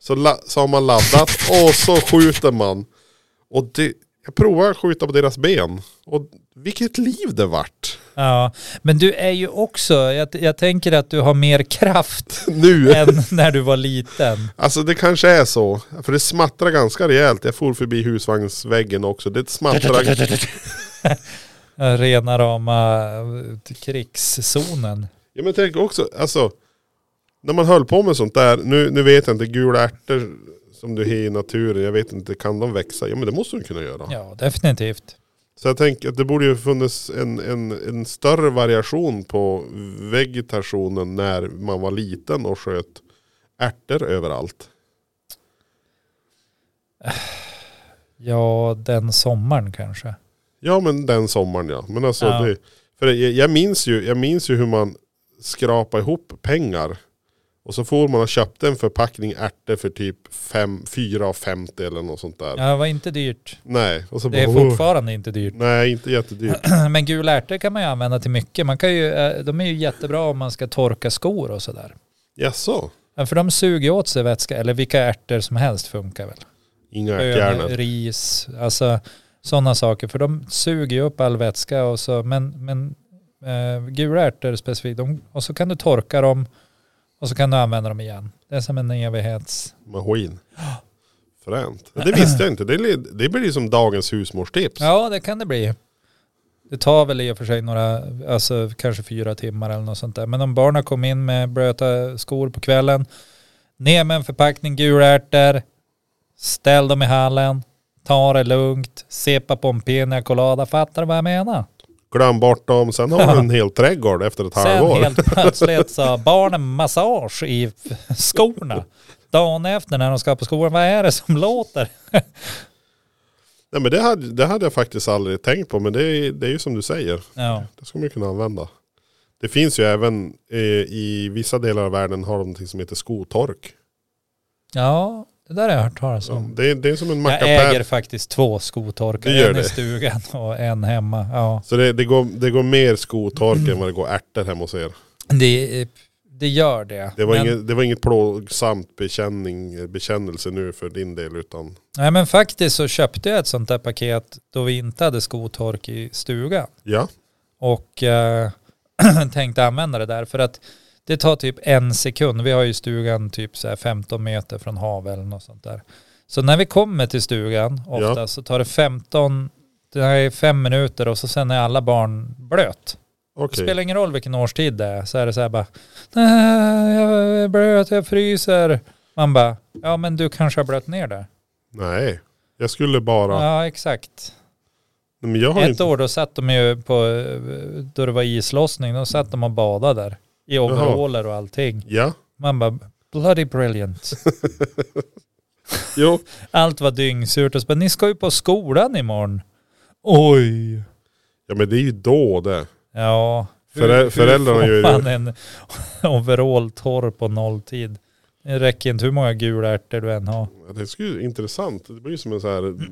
Så, la, så har man laddat och så skjuter man. Och det, jag provar att skjuta på deras ben. Och vilket liv det vart. Ja, men du är ju också, jag, jag tänker att du har mer kraft Nu. än när du var liten. Alltså det kanske är så. För det smattrar ganska rejält. Jag for förbi husvagnsväggen också. Det smattrar. Ja, Eh, Rena rama eh, krigszonen. Ja men tänk också, alltså. När man höll på med sånt där, nu, nu vet jag inte, gula ärtor som du har i naturen, jag vet inte, kan de växa? Ja men det måste de kunna göra. Ja, definitivt. Så jag tänker att det borde ju funnits en, en, en större variation på vegetationen när man var liten och sköt ärtor överallt. Ja, den sommaren kanske. Ja men den sommaren ja. Men alltså Ja. det, för jag, jag, minns ju, jag minns ju hur man skrapade ihop pengar. Och så får man och köpte en förpackning ärtor för typ fem- 4,50 eller något sånt där. Ja, det var inte dyrt. Nej, och så Det är bara, "Åh." fortfarande inte dyrt. Nej, inte jättedyrt. Men gula ärtor kan man ju använda till mycket. Man kan ju, eh, de är ju jättebra om man ska torka skor och sådär. Jaså? Ja, För de suger åt sig vätska, eller vilka ärtor som helst funkar väl. Inga Bönor, ärtjärnor. ris, alltså sådana saker. För de suger ju upp all vätska och så, men, men eh, gula ärtor specifikt, de, och så kan du torka dem och så kan du använda dem igen. Det är som en evighets... Maskin. Fränt. Ja, Det visste jag inte. Det, är- det blir som dagens husmorstips. Ja, det kan det bli. Det tar väl i och för sig några, alltså kanske fyra timmar eller något sånt där. Men om barnen kom in med blöta skor på kvällen, ner med en förpackning gula ärtor, ställ dem i hallen, ta det lugnt, sepa på en pina colada, fattar du vad jag menar? Glöm bort dem. Sen har du en hel trädgård efter ett halvår. Sen helt plötsligt så har barnen massage i skorna. Dagen efter när de ska på skolan, vad är det som låter? Nej, men det, hade, det hade jag faktiskt aldrig tänkt på. Men det är, det är ju som du säger. Ja, Det ska man ju kunna använda. Det finns ju även eh, i vissa delar av världen har de någonting som heter skotork. ja det där har jag hört talas om. Det, är- det är som en Jag mackapär. äger faktiskt två skotorkar. Du gör En i det. stugan och en hemma. Ja. Så det, det, går, det går mer skotork än vad det går ärtor hemma hos er. Det, det gör det. Det var, men, inget, det var inget plågsamt bekänning, bekännelse nu för din del utan Nej men faktiskt så köpte jag ett sånt där paket då vi inte hade skotork i stugan. ja. Och eh, tänkte använda det där för att det tar typ en sekund. Vi har ju stugan typ så här 15 meter från havet eller något sånt där. Så när vi kommer till stugan Ja. ofta så tar det 15, det här är fem minuter och så sen är alla barn blöt. Det Okej. spelar ingen roll vilken årstid det är, så är det så här bara, nej, jag är blöt, jag fryser. Man bara, ja men du kanske har blött ner där. Nej. Jag skulle bara. Ja exakt. Nej, Men jag har Ett inte. år då satt de ju på, eh, då det var islossning, då satt de och badade där. I overaller och allting. Ja. Man bara, bloody brilliant. Jo. Allt var dyngsurt och så bara, ni ska ju på skolan imorgon. Oj. Ja men det är ju då det. Ja. Förä- föräldrarna får gör ju- man en overall torr på nolltid? Det räcker inte hur många gula ärtor du än har. Ja, Det skulle ju intressant. Det blir ju som en så här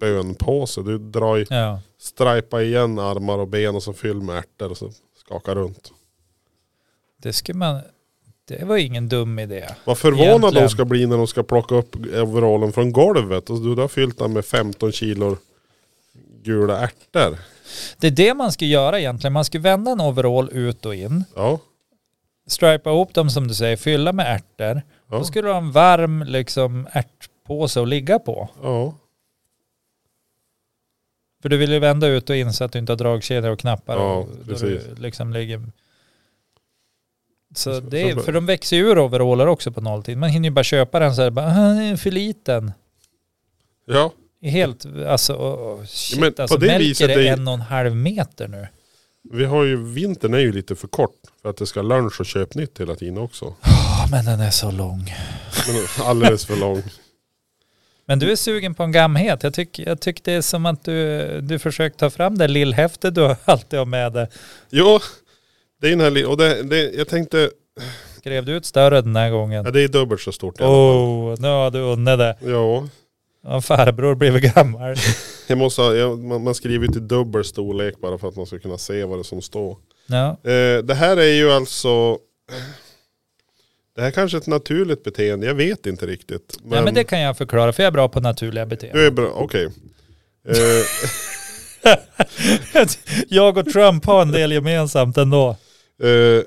bönpåse. Du drar i, Ja. strajpa igen armar och ben och så fyll med ärtor och så skaka runt. Det skulle man... Det var ingen dum idé. Vad förvånad de Egentligen. ska bli när de ska plocka upp overallen från golvet. Och du har fyllt den med 15 kilo gula ärtor. Det är det man ska göra egentligen. Man ska vända en overall ut och in. Ja. Stripa ihop dem som du säger, fylla med ärtor. Ja. Då skulle du ha en varm liksom, ärtpåse att ligga på. ja. För du vill ju vända ut och in så att du inte har dragkedjor och knappar. Ja, och, då precis. du liksom ligger... Så Så- det är, så- för de växer ju ur overaller också på nolltid. Man hinner ju bara köpa den så här, bara, "Ah, den är för liten. Ja. Helt, alltså, oh, shit, Ja, men på alltså, det Melker viset är är- en och en halv meter nu. Vi har ju, vintern är ju lite för kort för att det ska lunch och köp nytt hela tiden också. Ja, men den är så lång. Men alldeles för lång. Men du är sugen på en gamhet. Jag tycker jag tyck det är som att du, du försöker ta fram det lillhäftet du alltid har med dig. Jo, det är den här li- och det, det, jag tänkte, Skrev du ut större den här gången? Ja, det är dubbelt så stort. i alla fall. Oh, nu har du unnat det. Ja, Ja, farbror blivit gammal. jag måste, ha- jag, man, man skriver ut i dubbel storlek bara för att man ska kunna se vad det är som står. Ja, Eh, det här är ju alltså... Det här kanske är ett naturligt beteende, jag vet inte riktigt. Men, men, ja, men det kan jag förklara för jag är bra på naturliga beteenden. du är bra, okej. Eh, Jag och Trump har en del gemensamt ändå. eh,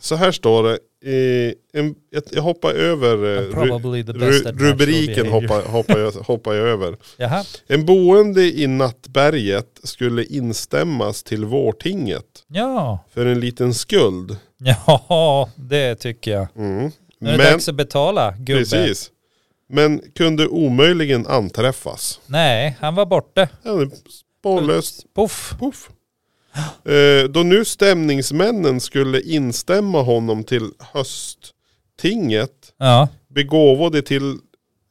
så här står det. Eh, en, jag, jag hoppar över eh, And ru, Probably the best ru, at natural rubriken. behavior. Hoppar, hoppar, jag, hoppar jag över. Jaha, En boende i Nattberget skulle instämmas till Vårtinget ja. för en liten skuld. Ja, det tycker jag. Mm. Nu är det Men, dags att betala gubbe. precis. Men kunde omöjligen anträffas. Nej, han var borta. Ja, det är Spårlöst. Puff. Puff. Eh, då nu stämningsmännen skulle instämma honom till hösttinget Ja, begåvade det till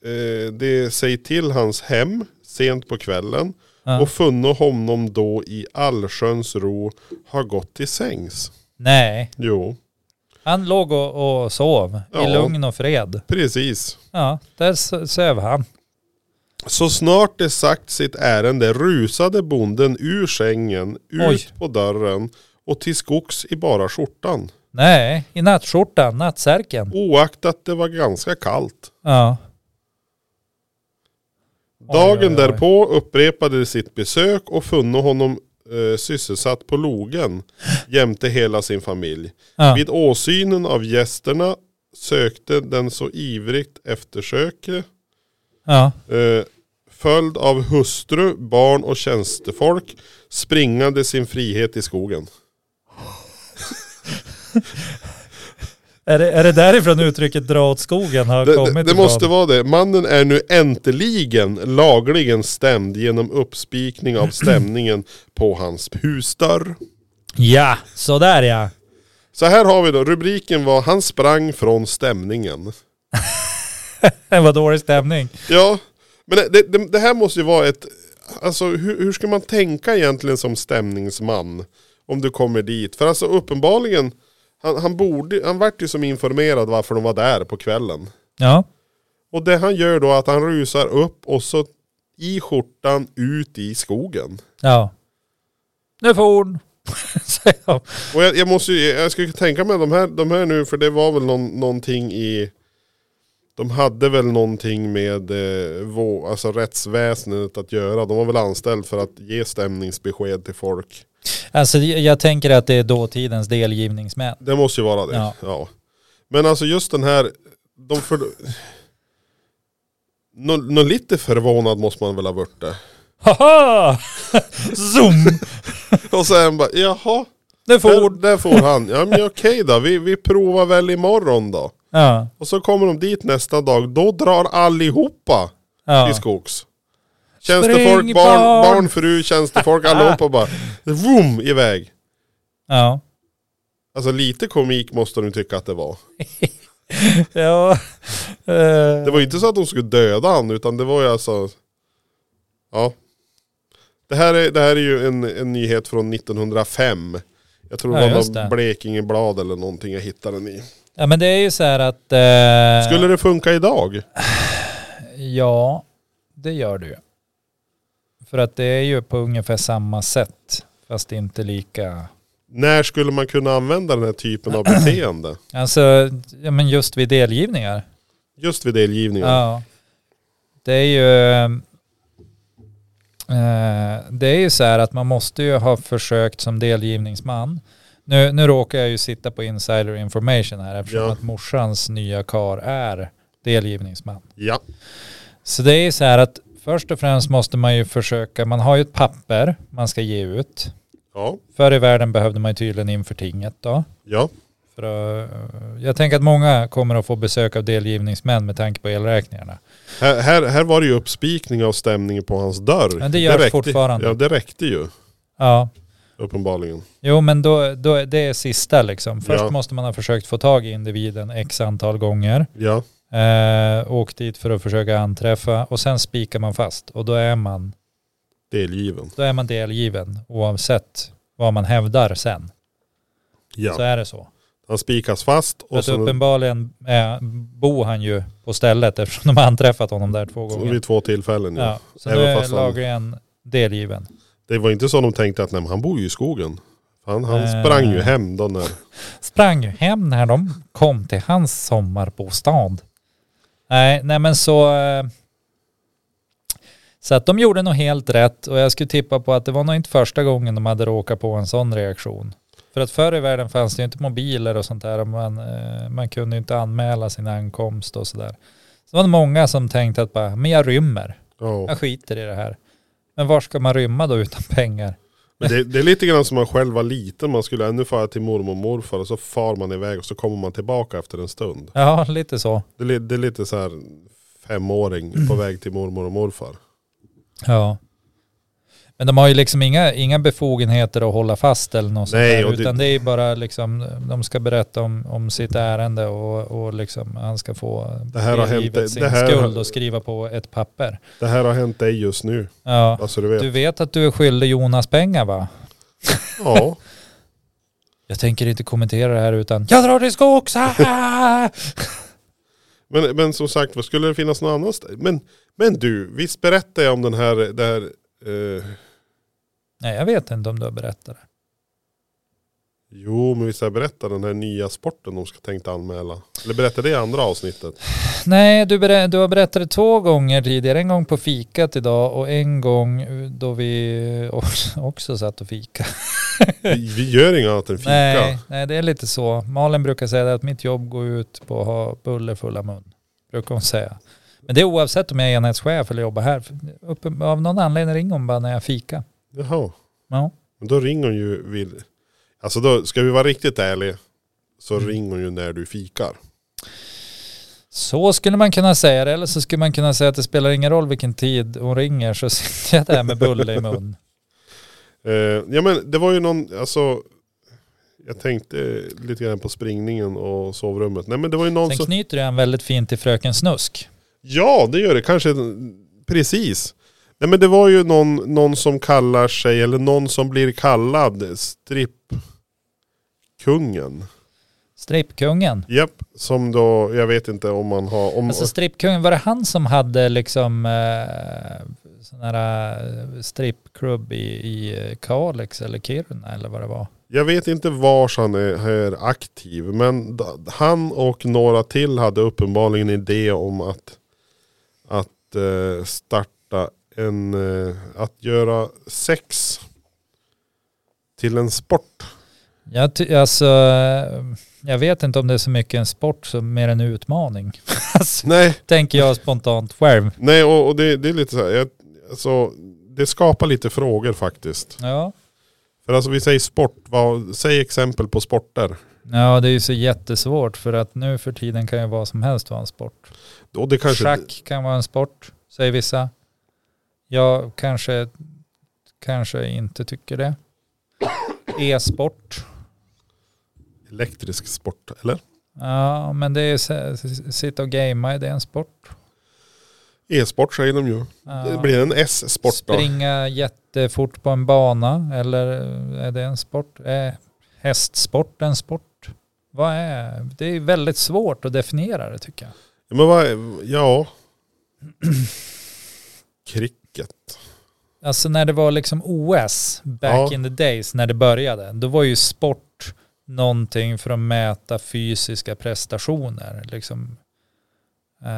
eh, det sig till hans hem sent på kvällen Ja. och funne honom då i allsköns ro ha gått till sängs. nej. Jo, Han låg och, och sov Ja. i lugn och fred. precis. Ja, där s- söv han. Så snart det sagt sitt ärende rusade bonden ur sängen, ut Oj. på dörren och till skogs i bara skjortan. Nej, i nattskjortan, nattsärken. Oaktat det var ganska kallt. Ja. Oj, Dagen oj, oj. därpå upprepade de sitt besök och funne honom eh, sysselsatt på logen jämte hela sin familj. ja. Vid åsynen av gästerna sökte den så ivrigt eftersöke ja. eh, följd av hustru, barn och tjänstefolk springande sin frihet i skogen. Är, det, är det därifrån uttrycket dra åt skogen har Det, kommit? det, det ifrån? måste vara det. Mannen är nu äntligen lagligen stämd genom uppspikning av stämningen på hans husdörr. Ja, sådär ja. Så här har vi då, rubriken var Han sprang från stämningen. Det var dålig stämning. Ja, men det, det, det här måste ju vara ett... Alltså hur, hur ska man tänka egentligen som stämningsman? Om du kommer dit. För alltså uppenbarligen, han, han, borde, han vart ju som informerad varför de var där på kvällen. Ja. Och det han gör då är att han rusar upp och så i skjortan ut i skogen. Ja. Nu får hon. säger de. Och jag, jag måste ju, jag skulle tänka mig de här, de här nu, för det var väl någon, någonting i... De hade väl någonting med eh, vå, alltså rättsväsendet att göra. De var väl anställd för att ge stämningsbesked till folk. Alltså jag jag tänker att det är dåtidens delgivningsmän. Det måste ju vara det. Ja. Ja. Men alltså just den här... De för... Nå, nå lite förvånad måste man väl ha varit det. Haha! Zoom! Och sen bara, jaha, Nu får där, hon. där får han. Ja men okej då, vi, vi provar väl imorgon då. Ja. Och så kommer de dit nästa dag, då drar allihopa till ja. skogs. Tjänstefolk, barn, Spring, barn. barn! Ah. fru, tjänstefolk, allihopa bara vroom, iväg. Ja. Alltså lite komik måste de tycka att det var. ja. eh. Det var ju inte så att de skulle döda han utan det var ju alltså... Ja. Det här är, det här är ju en, en nyhet från 1905. Jag tror Ja, det var just någon det. Blekingeblad eller någonting jag hittade den i. ja men det är ju så här att... Eh, Skulle det funka idag? Ja, det gör det ju. För att det är ju på ungefär samma sätt. Fast inte lika... När skulle man kunna använda den här typen av beteende? Alltså, ja, men just vid delgivningar. Just vid delgivningen. Ja. Det är ju... eh, Det är ju så här att man måste ju ha försökt som delgivningsman. Nu, nu råkar jag ju sitta på insider information här eftersom Ja. att morsans nya kar är delgivningsman. ja. Så det är ju så här att först och främst måste man ju försöka, man har ju ett papper man ska ge ut. Ja, Förr i världen behövde man ju tydligen inför tinget då. ja, För, eh, jag tänker att många kommer att få besök av delgivningsmän med tanke på elräkningarna. här, här, här var det ju uppspikning av stämningen på hans dörr. Men det görs räckte- fortfarande. Ja, det räckte ju Ja, uppenbarligen. Jo men då, då är det är sista liksom. Först Ja. måste man ha försökt få tag i individen x antal gånger. Ja, Eh, åkt dit för att försöka anträffa och sen spikar man fast. Och då är man, delgiven. då är man delgiven oavsett vad man hävdar sen. Så Ja, är det så. Han spikas fast. För Och att sen, uppenbarligen eh, bor han ju på stället eftersom de har anträffat honom där två gånger. vid två tillfällen. Ja. Ja, så nu Även är fast han- lagligen delgiven. Det var inte så de tänkte att nej, men han bor ju i skogen. Han, han Eh. sprang ju hem då när... Sprang hem när de kom till hans sommarbostad. Nej, nej men så... eh, Så att de gjorde nog helt rätt och jag skulle tippa på att det var nog inte första gången de hade råkat på en sån reaktion. För att förr i världen fanns det ju inte mobiler och sånt där och man, eh, man kunde ju inte anmäla sin ankomst och sådär. Så det var det många som tänkte att bara, men jag rymmer. Ja. Jag skiter i det här. Men var ska man rymma då utan pengar? Men Det, det är lite grann som man själv var liten. Man skulle ännu fara till mormor och morfar och så far man iväg och så kommer man tillbaka efter en stund. Ja, lite så. Det, är li- det är lite så här femåring Mm. på väg till mormor och morfar. Ja. Men de har ju liksom inga, inga befogenheter att hålla fast eller något sånt Nej, där, och det- utan det är ju bara liksom, de ska berätta om, om sitt ärende och, och liksom han ska få Det här har delgivet hänt- sin det här- skuld och skriva på ett papper. Det här har hänt dig just nu. Ja. Alltså du vet. Du vet att du är skyldig Jonas pengar va? Ja. Jag tänker inte kommentera det här utan jag drar till skogs! ah! Men, men som sagt, vad skulle det finnas någon annanstans? Men, men du, visst berättade jag om den här, det här eh, Nej jag vet inte om du har berättat det. jo men visst har jag berättat den här nya sporten de ska tänkte anmäla? Eller berättade det i andra avsnittet? Nej du, berä- du har berättat det två gånger tidigare. En gång på fikat idag och en gång då vi också satt och fika. Vi, vi gör inget annat än fika. Nej, nej, det är lite så. Malin brukar säga det att mitt jobb går ut på att ha buller fulla mun. Brukar hon säga. Men det är oavsett om jag är enhetschef eller jobbar här. För uppe- Av någon anledning ringer hon bara när jag fika. Jaha. Ja. Men då ringer hon ju vid, alltså då, ska vi vara riktigt ärliga, så Mm. ringer hon ju när du fikar. Så skulle man kunna säga det. Eller så skulle man kunna säga att det spelar ingen roll vilken tid hon ringer så sitter jag där med bulle i mun. Eh, ja men det var ju någon, alltså jag tänkte lite grann på springningen och sovrummet. Nej men det var ju någon Sen som... knyter jag en väldigt fint till fröken Snusk. Ja, det gör det. Kanske precis. Nej men det var ju någon, någon som kallar sig, eller någon som blir kallad strippkungen. Strippkungen. Japp, som då, jag vet inte om man har... Om, Alltså strippkungen, var det han som hade liksom eh, sån här eh, strippklubb i, i eh, Kalix eller Kiruna eller vad det var? jag vet inte vars han är, är aktiv, men d- han och några till hade uppenbarligen en idé om att, att eh, starta en, eh, att göra sex till en sport. Jag, ty- alltså, eh, jag vet inte om det är så mycket en sport som mer en utmaning. alltså, Nej, tänker jag spontant själv. Nej, och, och det, det är lite så här, jag, alltså, det skapar lite frågor faktiskt. Ja. För alltså vi säger sport, vad, säg exempel på sporter. ja, det är ju så jättesvårt för att nu för tiden kan ju vad som helst vara en sport. Och det kanske, Schack kan vara en sport, säger vissa. Jag kanske, kanske inte tycker det. E-sport. Elektrisk sport, eller? Ja, men det är s- s- sitta och gamea, det är en sport. E-sport säger de ju. Ja. Det blir en S-sport då. Springa jättefort på en bana, eller eh, är det en sport? Är hästsport en sport? Vad är? Det är väldigt svårt att definiera det tycker jag. Ja, Men vad, ja. Cricket. Alltså när det var liksom OS back Ja. in the days när det började, då var ju sport någonting för att mäta fysiska prestationer. Liksom. Eh,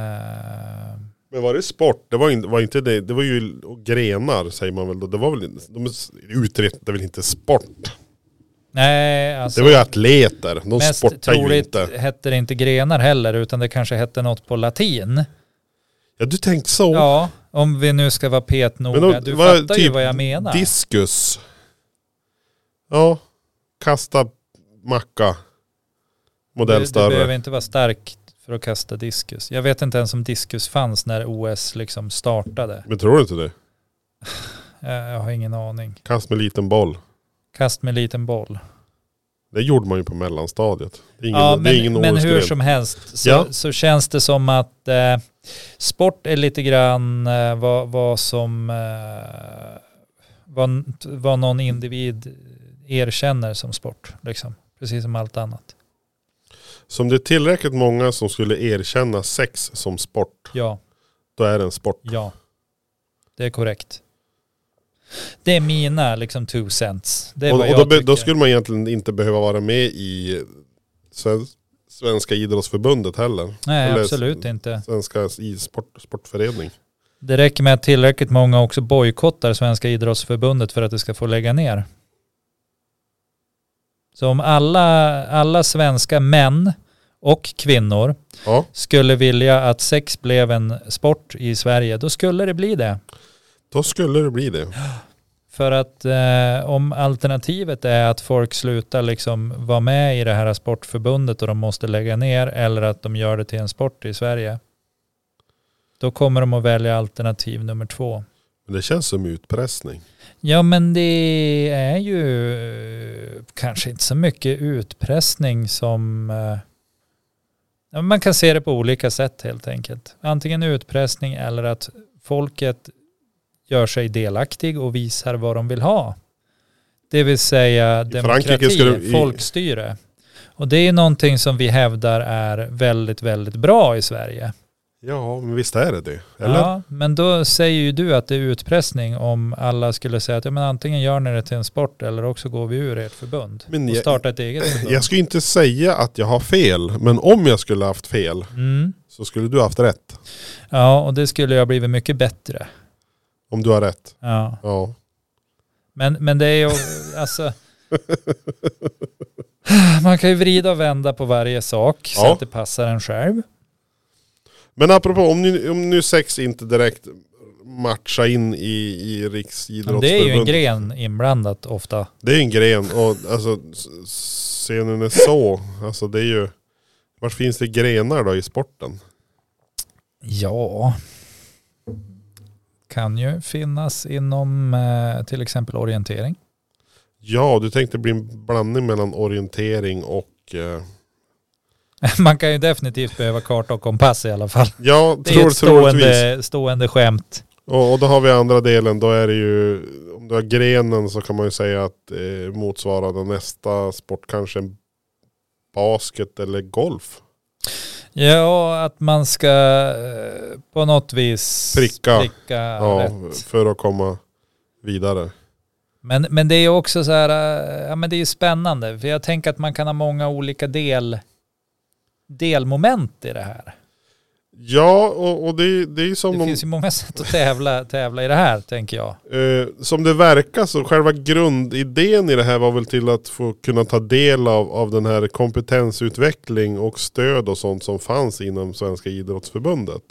Men var det sport? Det var, in, var inte det, det var ju grenar säger man väl då. Det var väl, inte- de utredde väl inte sport? nej, alltså, Det var ju atleter, de Mest sportar ju troligt inte. hette det inte grenar heller, utan det kanske hette något på latin. Ja du tänkte så. Ja, om vi nu ska vara petnoga. Men då du var det fattar ju typ vad jag menar. Diskus. Ja, kasta macka. du, Modell du behöver större. inte vara stark för att kasta diskus. Jag vet inte ens om diskus fanns när OS liksom startade. Eh, Men tror du inte det? Jag, jag har ingen aning. Kast med liten boll. Kast med liten boll. Det gjorde man ju på mellanstadiet. Det är ingen, ja, det är men, ingen men hur OS-gren. som helst så, Ja. så känns det som att eh, sport är lite grann eh, vad, vad som eh, vad, vad någon individ erkänner som sport. Liksom. Precis som allt annat. Så om det är tillräckligt många som skulle erkänna sex som sport, Ja, då är det en sport. ja. Det är korrekt. Det är mina liksom two cents. Det är Och, vad och jag då, be, då tycker. skulle man egentligen inte behöva vara med i Sven- Svenska idrottsförbundet heller. Nej, eller- absolut inte. Svenska e-sport, sportförening. Det räcker med att tillräckligt många också bojkottar Svenska idrottsförbundet för att det ska få lägga ner. Så om alla, alla svenska män och kvinnor Ja, skulle vilja att sex blev en sport i Sverige, då skulle det bli det. då skulle det bli det. För att eh, om alternativet är att folk slutar liksom vara med i det här sportförbundet och de måste lägga ner eller att de gör det till en sport i Sverige, då kommer de att välja alternativ nummer två. Men det känns som utpressning. Ja men det är ju eh, kanske inte så mycket utpressning som... eh, ja, Man kan se det på olika sätt helt enkelt. Antingen utpressning eller att folket gör sig delaktig och visar vad de vill ha. Det vill säga Frankrike demokrati, skulle- i- folkstyre. Och det är någonting som vi hävdar är väldigt, väldigt bra i Sverige. Ja, men visst är det det. Eller? Ja, men då säger ju du att det är utpressning om alla skulle säga att ja, men antingen gör ni det till en sport eller också går vi ur ert förbund Men och jag- startar ett eget förbund. Jag skulle inte säga att jag har fel, men om jag skulle haft fel Mm. så skulle du haft rätt. Ja, och det skulle jag blivit mycket bättre. Om du har rätt. Ja. Ja. Men, men det är ju, alltså... Man kan ju vrida och vända på varje sak så Ja. att det passar en själv. Men apropå, om nu, om nu sex inte direkt matchar in i, i Men det är ju en Riksidrottsförbundet. gren inblandat ofta. Det är ju en gren. Och alltså, s- s- scenen är så. Alltså det är ju... Vart finns det grenar då i sporten? Ja. Kan ju finnas inom eh, till exempel orientering. Ja, du tänkte bli en blandning mellan orientering och... Eh, Man kan ju definitivt behöva karta och kompass i alla fall. ja, Det är tror, ett troligtvis. stående, stående skämt. Och, och då har vi andra delen. Då är det ju... Om du har grenen så kan man ju säga att eh, motsvarande nästa sport kanske en basket eller golf. Ja, att man ska eh, på något vis Pricka. ja. Ja, rätt. för att komma vidare. Men, men det är ju också så här, eh, ja men det är ju spännande. För jag tänker att man kan ha många olika del, delmoment i det här. Ja, och, och det, det är ju som Det de... finns ju många sätt att tävla, tävla i det här, tänker jag. Eh, som det verkar så själva grundidén i det här var väl till att få kunna ta del av, av den här kompetensutveckling och stöd och sånt som fanns inom Svenska Idrottsförbundet.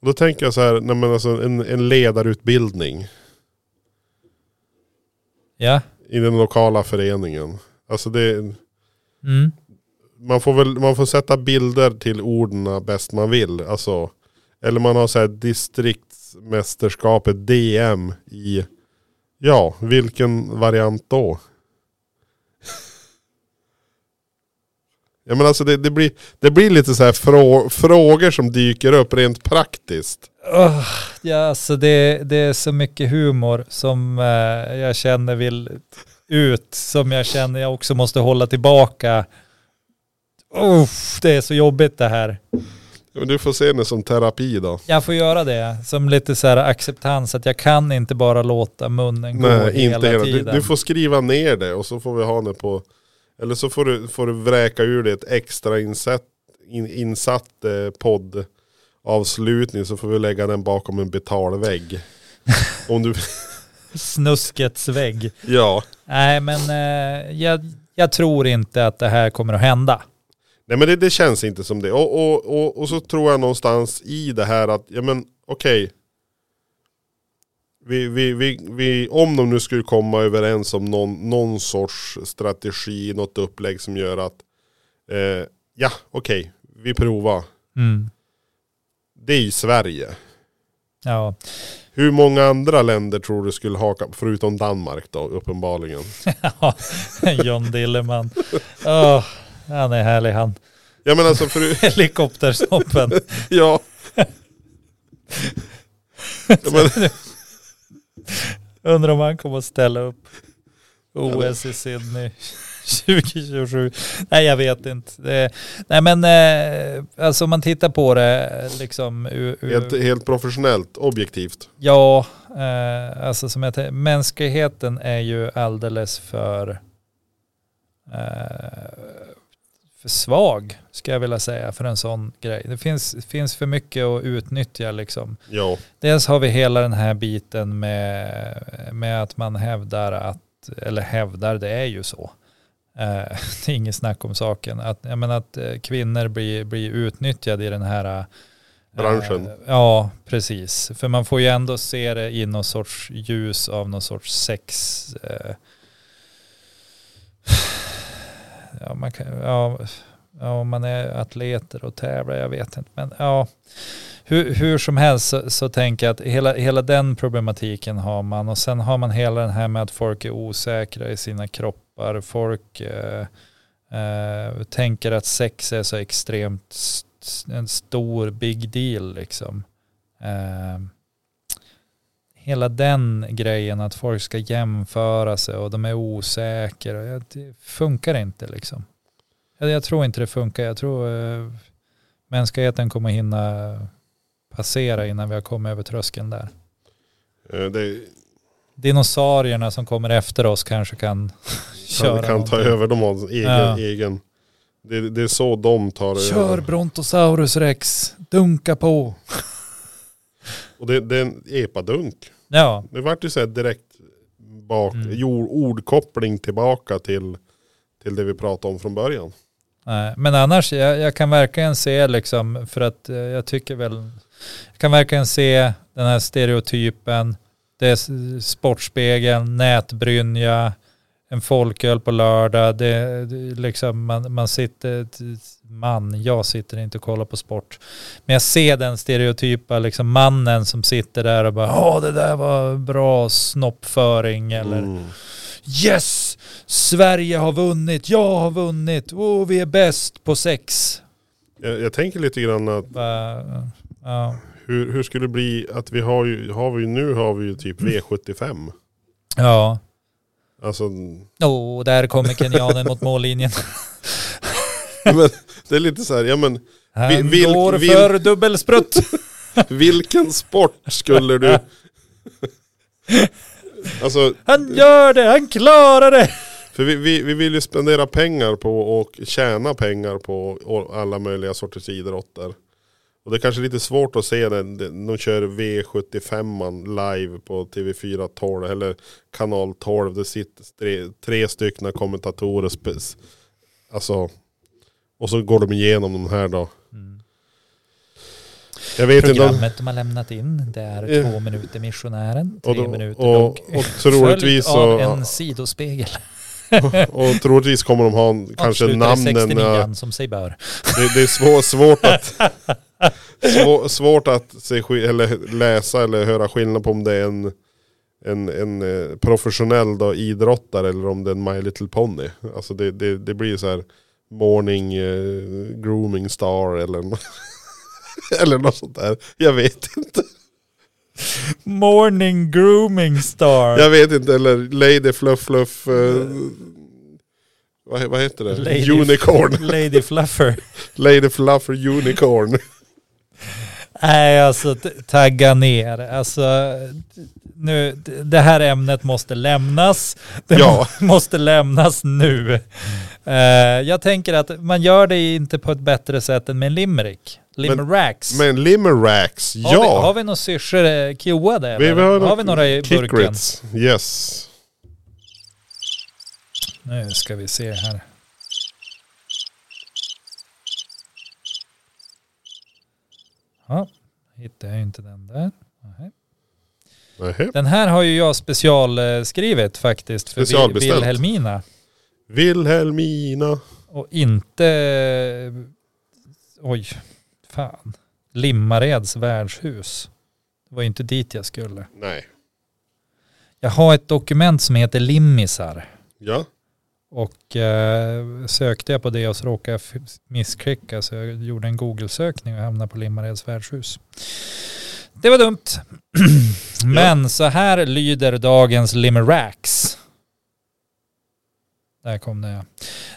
Och då tänker jag så här, nej men alltså en, en ledarutbildning Ja. i den lokala föreningen. Alltså det, Mm. man får väl man får sätta bilder till orden bäst man vill. Alltså, eller man har så här distriktsmästerskapet DM i, ja vilken variant då? Ja men alltså det, det, blir, det blir lite så här frå, frågor som dyker upp rent praktiskt. Åh, ja, alltså det, det är så mycket humor som eh, jag känner vill ut, som jag känner jag också måste hålla tillbaka. Uff, det är så jobbigt det här. Ja, men Du får se det som terapi då. Jag får göra det som lite så här acceptans att jag kan inte bara låta munnen gå Nej, hela inte hela du, tiden. du får skriva ner det och så får vi ha det på... Eller så får du, får du vräka ur det ett extra insatt, in, insatt eh, poddavslutning så får vi lägga den bakom en betalvägg. Om du... Snuskets vägg. Ja. Nej, men eh, jag, jag tror inte att det här kommer att hända. Nej men det, det känns inte som det. Och, och, och, och så tror jag någonstans i det här att, ja men okej. Vi, vi, vi, vi, om de nu skulle komma överens om någon, någon sorts strategi, något upplägg som gör att, eh, ja okej, vi provar. Mm. Det är i Sverige. Ja. Hur många andra länder tror du skulle haka, förutom Danmark då uppenbarligen? Ja, John Dilleman. Åh, han är härlig han. Ja men alltså för, Helikopterstoppen. ja. ja men, Undrar om han kommer att ställa upp OS i Sydney 2027. Nej, jag vet inte. Det, nej, men eh, alltså om man tittar på det liksom ur, ur, Helt, helt professionellt, objektivt. Ja, eh, alltså som jag tänker, mänskligheten är ju alldeles för, eh, för svag, ska jag vilja säga, för en sån grej. Det finns, finns för mycket att utnyttja liksom. Ja, Dels har vi hela den här biten med, med att man hävdar att, eller hävdar, det är ju så. Eh, det är inget snack om saken. Att, jag menar att eh, kvinnor blir, blir utnyttjade i den här... eh, Branschen. ja, precis. För man får ju ändå se det i någon sorts ljus av någon sorts sex... Eh, ja, man kan, ja, ja, om man är atleter och tävlar, jag vet inte. Men ja, hur, hur som helst så, så tänker jag att hela, hela den problematiken har man. Och sen har man hela den här med att folk är osäkra i sina kroppar. Folk eh, eh, tänker att sex är så extremt st- en stor big deal liksom. Eh, hela den grejen att folk ska jämföra sig och de är osäkra. Ja, Det funkar inte liksom. Jag, jag tror inte det funkar. Jag tror eh, mänskligheten kommer hinna passera innan vi har kommit över tröskeln där. eh, det Dinosaurierna som kommer efter oss kanske kan kan, köra. kan ta någonting. över de har egen. Ja. egen. Det, det är så de tar Kör över. Brontosaurus rex, dunka på. Och det, det är en epadunk. Ja, Det vart ju så här direkt bak, Mm. jord, ordkoppling tillbaka till, till det vi pratade om från början. nej. men annars, jag, jag kan verkligen se liksom, för att eh, jag tycker väl, jag kan verkligen se den här stereotypen, det är s- Sportspegeln, nätbrynja, en folköl på lördag, det, det är liksom, man, man sitter, man, jag sitter inte och kollar på sport. Men jag ser den stereotypa liksom mannen som sitter där och bara, ja det där var bra snoppföring eller Mm. Yes! Sverige har vunnit, jag har vunnit, oh, vi är bäst på sex. Jag, jag tänker lite grann att Bara, ja. hur, hur skulle det bli att vi har ju, har vi, ju- nu har vi ju typ Mm. V75. Ja. Alltså, Oh, där kommer kenyanen mot mållinjen. men, det är lite så här, ja men Han Vi- vilk- går vilk- för dubbelsprutt. Vilken sport skulle du... Alltså, Han gör det, han klarar det. för vi, vi, vi vill ju spendera pengar på och tjäna pengar på å- alla möjliga sorters idrotter. Och det är kanske lite svårt att se den, den- de kör V75 live på TV4 12 eller kanal 12. Det sitter tre, tre stycken kommentatorer. spe- Alltså, och så går de igenom de här då. Jag vet inte om... Programmet de har lämnat in, det är Ja. två minuter missionären, Och tre då- minuter och- logg. och troligtvis Följd av så- en sidospegel. Och troligtvis kommer de ha en, kanske Avslutar i namnen. 69 eh, som sig bör. Det, det är svår, svårt att svår, svårt att se, skill- eller läsa eller höra skillnad på om det är en, en, en eh, professionell då, idrottare eller om det är en My Little Pony. Alltså det, det, det blir så här morning eh, grooming star eller, nå- eller något sånt där. Jag vet inte. Morning grooming star. Jag vet inte. Eller Lady Fluff Fluff. Eh, vad, vad heter det? Lady- Unicorn. Lady Fluffer. Lady Fluffer Unicorn. Nej, alltså t- tagga ner. Alltså, nu, d- det här ämnet måste lämnas. Det Ja. må- måste lämnas nu. Eh, jag tänker att man gör det inte på ett bättre sätt än med limerick. Limeracks. Men Limeracks, har, ja. vi, har vi några syrsor eh, QA'ade? eller? har vi några i kick Eh, burken? grits. Yes. Nu ska vi se här. Ja, hittar jag inte den där. Nej. Nähä. Den här har ju jag specialskrivit faktiskt för Vil- Specialbeställt. Vilhelmina. Vilhelmina. Och inte... Oj, fan. Limmareds värdshus. Det var ju inte dit jag skulle. Nej. Jag har ett dokument som heter Limmisar. Ja. Och eh, sökte jag på det och så råkade jag f- missklicka så jag gjorde en Google-sökning och hamnade på Limmareds värdshus. Det var dumt. Men så här lyder dagens Limeracks. Där kom det ja.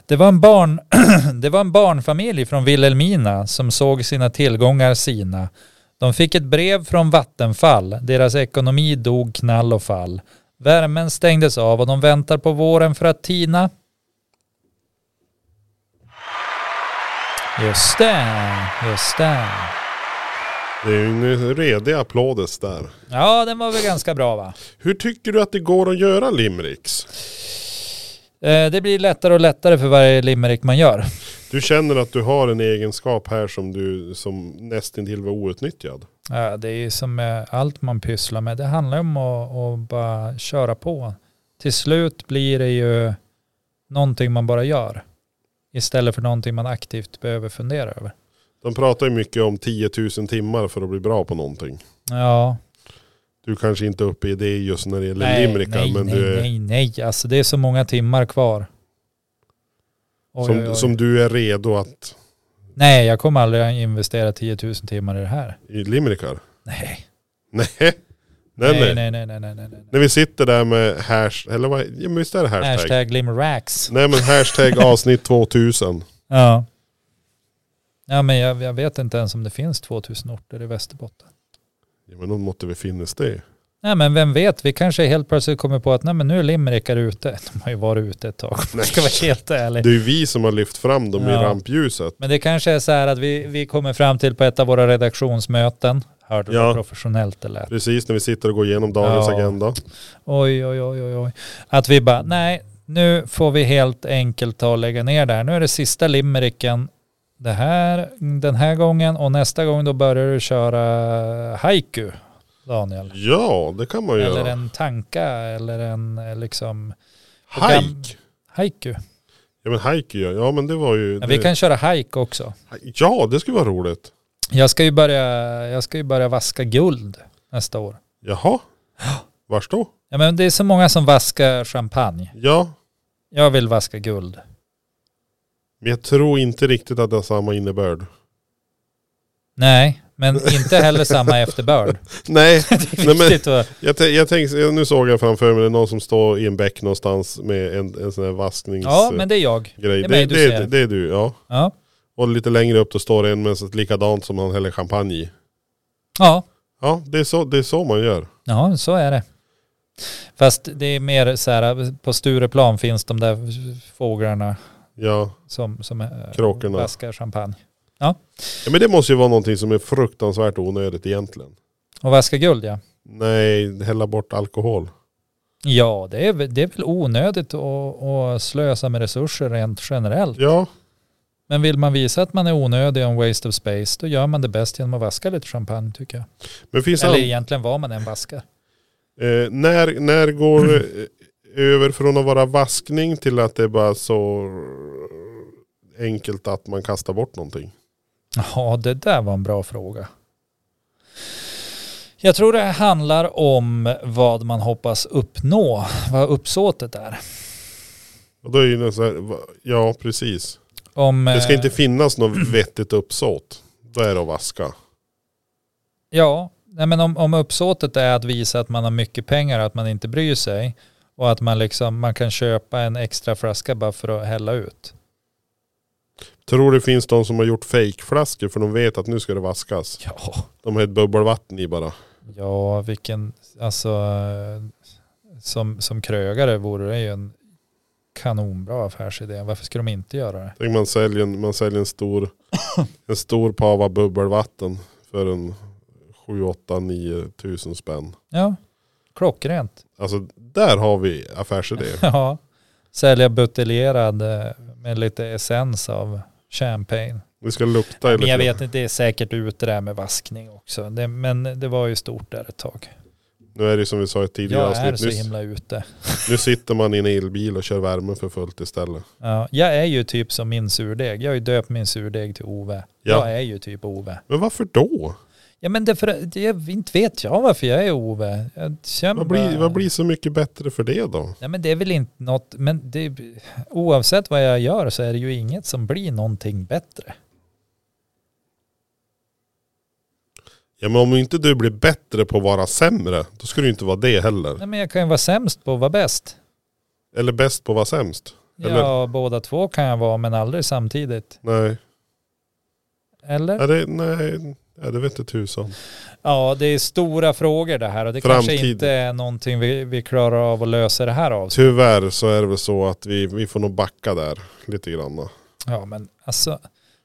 Det var en, barn, det var en barnfamilj från Vilhelmina som såg sina tillgångar sina. De fick ett brev från Vattenfall. Deras ekonomi dog knall och fall. Värmen stängdes av och de väntar på våren för att tina. Just det, just det. Det är ju en redig applådes där. Ja, den var väl ganska bra va? Hur tycker du att det går att göra limericks? Eh, Det blir lättare och lättare för varje limerick man gör. Du känner att du har en egenskap här som du som nästintill var outnyttjad. Ja, det är ju som med allt man pysslar med. Det handlar ju om att, att bara köra på. Till slut blir det ju någonting man bara gör. Istället för någonting man aktivt behöver fundera över. De pratar ju mycket om 10 000 timmar för att bli bra på någonting. Ja, Du kanske inte är uppe i det just när det gäller nej, limerickar, nej, men nej, du är, nej, nej. Alltså det är så många timmar kvar. Oj, som, oj, oj. som du är redo att Nej, jag kommer aldrig att investera 10 000 timmar i det här. i limerickar. Nej, Nej. Nej, nej, nej, nej, nej, nej, nej, nej. nej. När vi sitter där med hash, eller vad, ja, men visst är det hashtag? Hashtag limerax. Nej men hashtag avsnitt 2000. Ja. Ja men jag, jag vet inte ens om det finns 2000 orter i Västerbotten. Ja, men då måste vi finnas det. Nej men vem vet, vi kanske helt plötsligt kommer på att nej men nu är limerickar ute. De har ju varit ute ett tag om man ska vara helt ärlig. Det är ju vi som har lyft fram dem i Ja. rampljuset. Men det kanske är så här att vi, vi kommer fram till på ett av våra redaktionsmöten. Hörde du Ja. hur professionellt det lät? Precis när vi sitter och går igenom dagens Ja. agenda. Oj, oj, oj, oj, oj. Att vi bara, nej, nu får vi helt enkelt ta och lägga ner det här. Nu är det sista limericken det här, den här gången och nästa gång då börjar du köra haiku, Daniel. Ja, det kan man ju Eller göra. en tanka eller en eh, liksom kan- Hajk! haiku. Ja men hajk gör jag. Ja men det var ju... Men vi det- kan köra haiku också. Ja det skulle vara roligt. Jag ska ju börja, jag ska ju börja vaska guld nästa år. Jaha? Vars då? Ja, men det är så många som vaskar champagne. Ja. Jag vill vaska guld. Men jag tror inte riktigt att det har samma innebörd. Nej, men inte heller samma efterbörd. Nej, Det är Nej, men- viktigt att jag, tän- jag tänkte, nu såg jag framför mig det är någon som står i en bäck någonstans med en, en sån här vasknings... Ja, men det är jag. grej. Det är Det, mig det, du det, ser. är du, ja. Ja, Och lite längre upp då står det en med ett likadant som han häller champagne i. ja. Ja, det är så, det är så man gör. ja så är det. Fast det är mer så här, på Stureplan finns de där fåglarna Ja. som, som eh, Kråkorna. vaskar champagne. ja, men det måste ju vara någonting som är fruktansvärt onödigt egentligen. Och vaskar guld ja. Nej, hälla bort alkohol. Ja, det är, väl- det är väl onödigt att, att slösa med resurser rent generellt. Ja, Men vill man visa att man är onödig och en waste of space, då gör man det bäst genom att vaska lite champagne tycker jag. men finns Eller det... egentligen vad man än vaskar. Eh, när, när går det över från att vara vaskning till att det är bara så enkelt att man kastar bort någonting? Ja, det där var en bra fråga. Jag tror det handlar om vad man hoppas uppnå, vad uppsåtet är. Och då är det så här, va- ja precis. Om, Det ska eh, inte finnas något vettigt uppsåt. Då är det att vaska. Ja, nej men om, om uppsåtet är att visa att man har mycket pengar och att man inte bryr sig och att man, liksom, man kan köpa en extra flaska bara för att hälla ut. Tror det finns de som har gjort fejkflaskor för de vet att nu ska det vaskas. Ja, De har ett bubbelvatten i bara. ja vilken, alltså eh, som, som krögare vore det ju en kanonbra affärsidé. Varför skulle de inte göra det? Tänk man säljer en, man säljer en stor, en stor pava bubbelvatten för en 7, 8, 9 tusen spänn. Ja, klockrent. Alltså där har vi affärsidé. Ja, sälja buteljerad eh, med lite essens av champagne. Det ska lukta i Men jag lite- vet inte, det är säkert ute det där med vaskning också. Det, men det var ju stort där ett tag. Nu är det som vi sa i ett tidigare Jag är så avsnitt. Nu, himla ute. nu sitter man i en elbil och kör värmen för fullt istället. Ja, jag är ju typ som min surdeg. Jag har ju döpt min surdeg till Ove. Ja. Jag är ju typ Ove. Men varför då? Ja men det, för, det inte vet jag varför jag är Ove. Jag känner Vad blir, bara- vad blir så mycket bättre för det då? Nej men det är väl inte något, men det, oavsett vad jag gör så är det ju inget som blir någonting bättre. Ja men om inte du blir bättre på att vara sämre, då ska du inte vara det heller. Nej men jag kan ju vara sämst på att vara bäst. Eller bäst på att vara sämst. Ja, båda två kan jag vara men aldrig samtidigt. Nej. Eller? Ja, det, nej. Ja, det vet inte tusan. Ja, det är stora frågor det här och det kanske Framtid. inte är någonting vi, vi klarar av att lösa det här av. Tyvärr så är det väl så att vi, vi får nog backa där lite grann. Ja, men alltså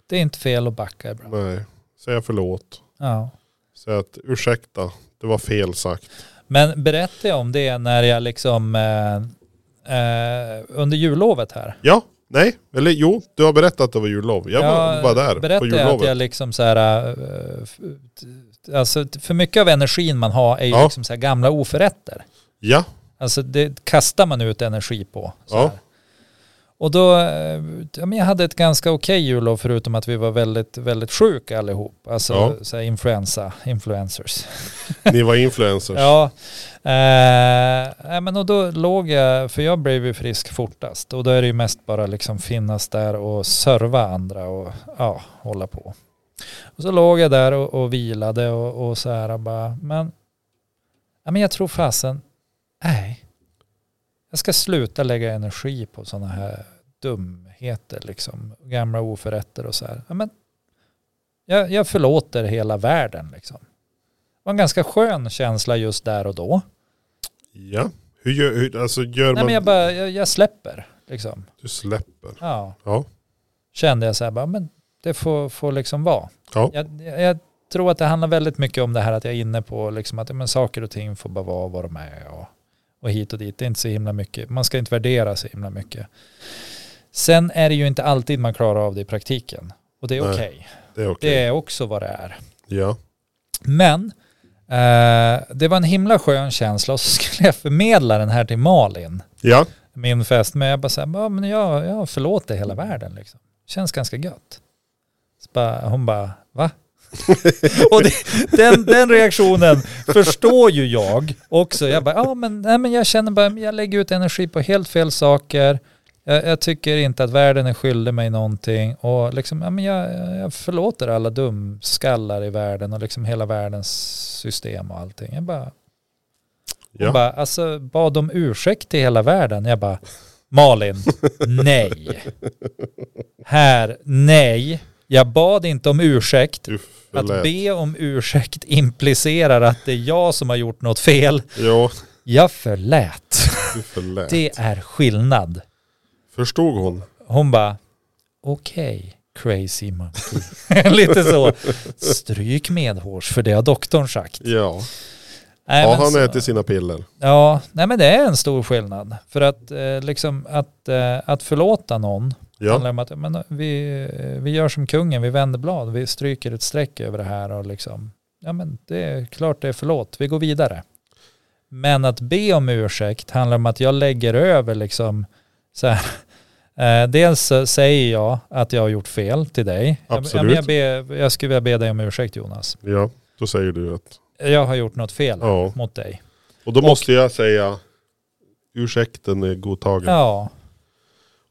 det är inte fel att backa ibland. Nej. Säga förlåt. Ja. Säga att ursäkta, det var fel sagt. Men berätta jag om det när jag liksom eh, eh, under jullovet här. Ja, nej, eller jo, du har berättat att det var jullov. Jag var, var där på Berättade jag att jullovet. jag liksom så här, eh, f- t- alltså t- för mycket av energin man har är ju Ja. liksom så här gamla oförrätter. Ja, Alltså det kastar man ut energi på. Så Ja. här. Och då, eh, ja, men jag hade ett ganska okej jullov förutom att vi var väldigt, väldigt sjuka allihop. Alltså Ja. så här influensa, influencers. ni var influencers. Ja, eh, nej, men och då låg jag, för jag blev ju frisk fortast och då är det ju mest bara liksom finnas där och serva andra och ja, hålla på. Och så låg jag där och, och vilade och, och så här bara, men, ja, men jag tror fasen, nej, jag ska sluta lägga energi på sådana här dumheter liksom, gamla oförrätter och så här. Ja, men, jag, jag förlåter hela världen liksom var en ganska skön känsla just där och då. Ja. Hur gör, hur, alltså gör Nej, man, men jag, bara, jag, jag släpper. Liksom. du släpper. Ja. Ja. Kände jag så här, bara, men det får, får liksom vara. Ja. Jag, jag, jag tror att det handlar väldigt mycket om det här att jag är inne på liksom att ja, men saker och ting får bara vara vad de är och, och hit och dit. Det är inte så himla mycket. Man ska inte värdera så himla mycket. Sen är det ju inte alltid man klarar av det i praktiken. Och det är Nej. okej. Det är okej. Det är också vad det är. Ja. Men eh, det var en himla skön känsla och så skulle jag förmedla den här till Malin, Ja. min fest. Men jag bara så här, "Ja, men jag, jag förlåter hela världen liksom. Känns ganska gött. Så bara, hon bara, va? och det, den, den reaktionen förstår ju jag också. Jag bara, ja men, nej, men jag känner bara, jag lägger ut energi på helt fel saker. Jag, jag tycker inte att världen är skyldig mig någonting och liksom, ja, men jag, jag förlåter alla dumskallar i världen och liksom hela världens system och allting. Jag bara, hon Ja. bara, alltså bad om ursäkt till hela världen. Jag bara, Malin, nej. Här, nej. Jag bad inte om ursäkt. Du Att förlät. be om ursäkt implicerar att det är jag som har gjort något fel. Ja, Jag förlät. du förlät. Det är skillnad. Förstod hon? Hon bara, okej, crazy monkey. Lite så. Stryk medhårs, för det har doktorn sagt. Ja. Nej, ja, men han så- äter sina piller. Ja, nej men det är en stor skillnad. För att, eh, liksom, att, eh, att förlåta någon handlar Ja. om att men, vi, eh, vi gör som kungen, vi vänder blad, vi stryker ett streck över det här och liksom, ja men det är klart det är förlåt, vi går vidare. Men att be om ursäkt handlar om att jag lägger över liksom, så här, eh, dels så säger jag att jag har gjort fel till dig. Jag- Ja, men jag, Absolut. ber, jag skulle vilja be dig om ursäkt Jonas. Ja, då säger du att... Jag har gjort något fel Ja. mot dig. Och då måste jag säga... Ursäkten är godtagen. Ja.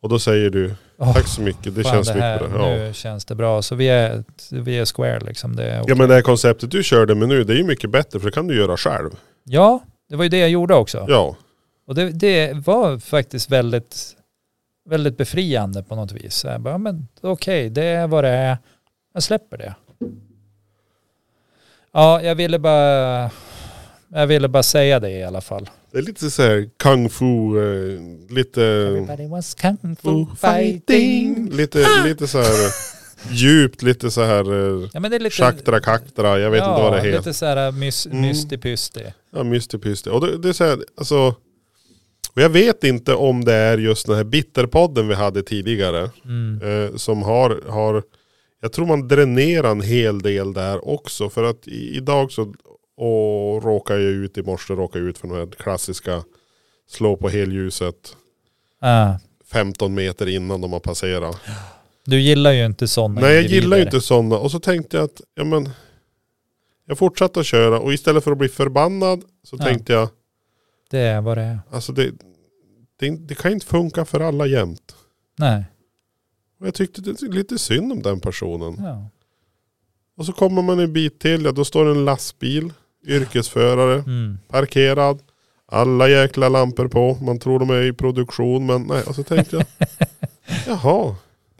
Och då säger du... Åh. Tack så mycket, det Fan, känns det här, mycket bra. Ja. Nu känns det bra. Så vi är, vi är square liksom. Det är ja okej. men det här konceptet du körde med nu, det är ju mycket bättre för det kan du göra själv. ja, det var ju det jag gjorde också. Ja. Och det, det var faktiskt väldigt, väldigt befriande på något vis. Så jag bara, ja, men okej, det är vad det är. Jag släpper det. Ja, jag ville bara, jag ville bara säga det i alla fall. Det är lite så här kung fu, eh, lite... Everybody was kung fu Fu fighting. Ah! Lite, lite så här eh, djupt, lite så här... eh, Ja, men det är lite... Shaktra kaktra, jag vet ja, inte vad det heter. Lite så här mys, Mm. mystig-pystig. Ja, mystig Och det, det är så här, alltså... Och jag vet inte om det är just den här bitterpodden vi hade tidigare. Mm. eh, som har, har, jag tror man dränerar en hel del där också. För att i, idag så och råkar jag ut i morse, råkar jag ut för den här klassiska slå på helljuset Ah. 15 meter innan de har passerat. Du gillar ju inte sådana Nej jag gillar ju inte sådana. Och så tänkte jag att, ja men, jag fortsatte att köra och istället för att bli förbannad så Ja. tänkte jag, Det är vad det är. alltså det, det, det kan ju inte funka för alla jämt. Nej. Och jag tyckte det är lite synd om den personen. Ja. Och så kommer man en bit till, ja, då står det en lastbil, yrkesförare, Mm. parkerad. Alla jäkla lampor på. Man tror de är i produktion men nej. Och så tänkte jag. Jaha.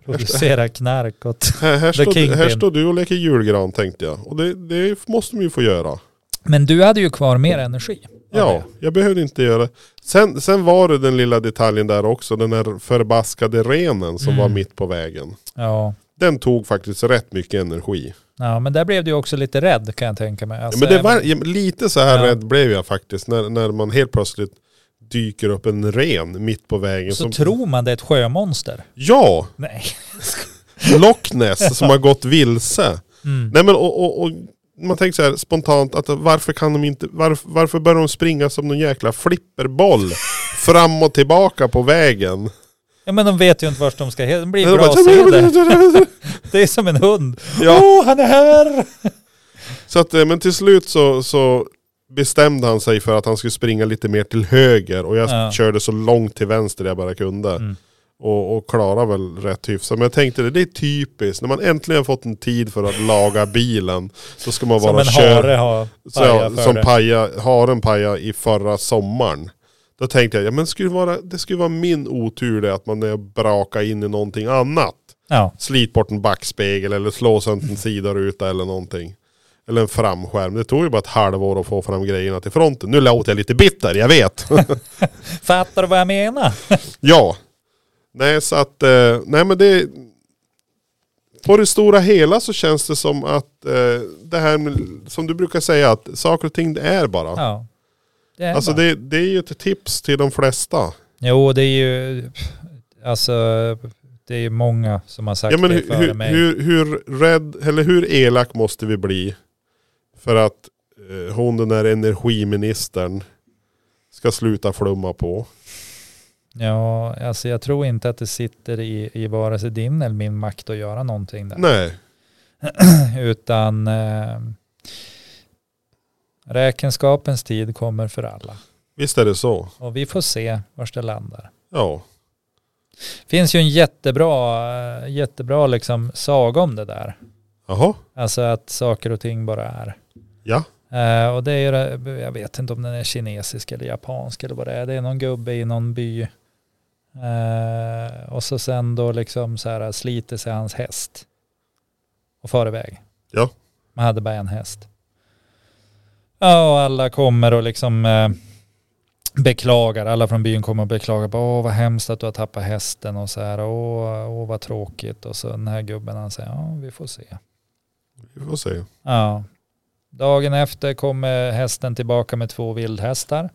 Producera knark åt... Här, här, The står, här Kingpin. står du och leker julgran tänkte jag. Och det, det måste de ju få göra. Men du hade ju kvar mer energi. av Ja, det. jag behövde inte göra det. Sen, sen var det den lilla detaljen där också. Den här förbaskade renen som Mm. var mitt på vägen. ja. Den tog faktiskt rätt mycket energi. Ja, men där blev du ju också lite rädd kan jag tänka mig. Ja, Alltså, men det var, ja, men lite så här Ja. rädd blev jag faktiskt. När, när man helt plötsligt dyker upp en ren mitt på vägen. så som- tror man det är ett sjömonster. Ja, Nej. Loch Ness som har gått vilse. Mm. Nej men och, och, och man tänker så här spontant att varför kan de inte, varför, varför börjar de springa som någon jäkla flipperboll fram och tillbaka på vägen? Ja, men de vet ju inte vart de ska. he- De blir De bara- brasäder. Det är som en hund. Ja. Åh, han är här! Så att, eh, men till slut så, så bestämde han sig för att han skulle springa lite mer till höger och jag Ja. körde så långt till vänster jag bara kunde. Mm. Och, och klarade väl rätt hyfsat. Men jag tänkte det, det är typiskt. När man äntligen fått en tid för att laga bilen. Då ska man Som vara en kör. hare har Så ja, pajat för som det. paja, haren paja i förra sommaren. Då tänkte jag, ja, men skulle det, vara, det skulle vara min otur det att man är braka in i någonting annat. Ja. Slit bort en backspegel eller slå sönder en sidoruta eller någonting. Eller en framskärm. Det tog ju bara ett halvår att få fram grejerna till fronten. Nu låter jag lite bitter, jag vet. Fattar du vad jag menar? ja. Nej så att, eh, nej men det... På det stora hela så känns det som att eh, det här med, som du brukar säga att saker och ting det är bara. Ja. Det är Alltså bara- det, det är ju ett tips till de flesta. Jo, det är ju... Alltså, det är ju många som har sagt Ja, men det hur, före hur, mig. hur, hur rädd, eller hur elak måste vi bli för att eh, hon den där energiministern ska sluta flumma på? Ja, alltså jag tror inte att det sitter i, i vare sig din eller min makt att göra någonting där. Nej. Utan eh, räkenskapens tid kommer för alla. Visst är det så? Och vi får se vart det landar. Ja. finns ju en jättebra, eh, jättebra liksom saga om det där. Jaha. Alltså att saker och ting bara är. Ja. Eh, och det är ju, det- jag vet inte om den är kinesisk eller japansk eller vad det är. Det är någon gubbe i någon by. Eh, och så sen då liksom så här sliter sig hans häst. Och far iväg. Ja. Man hade bara en häst. Ja och alla kommer och liksom eh, beklagar. Alla från byn kommer och beklagar. Bara, Åh vad hemskt att du har tappat hästen och så här. Åh, åh vad tråkigt. Och så den här gubben han säger ja vi får se. Vi får se. Ja. Dagen efter kommer hästen tillbaka med två vildhästar.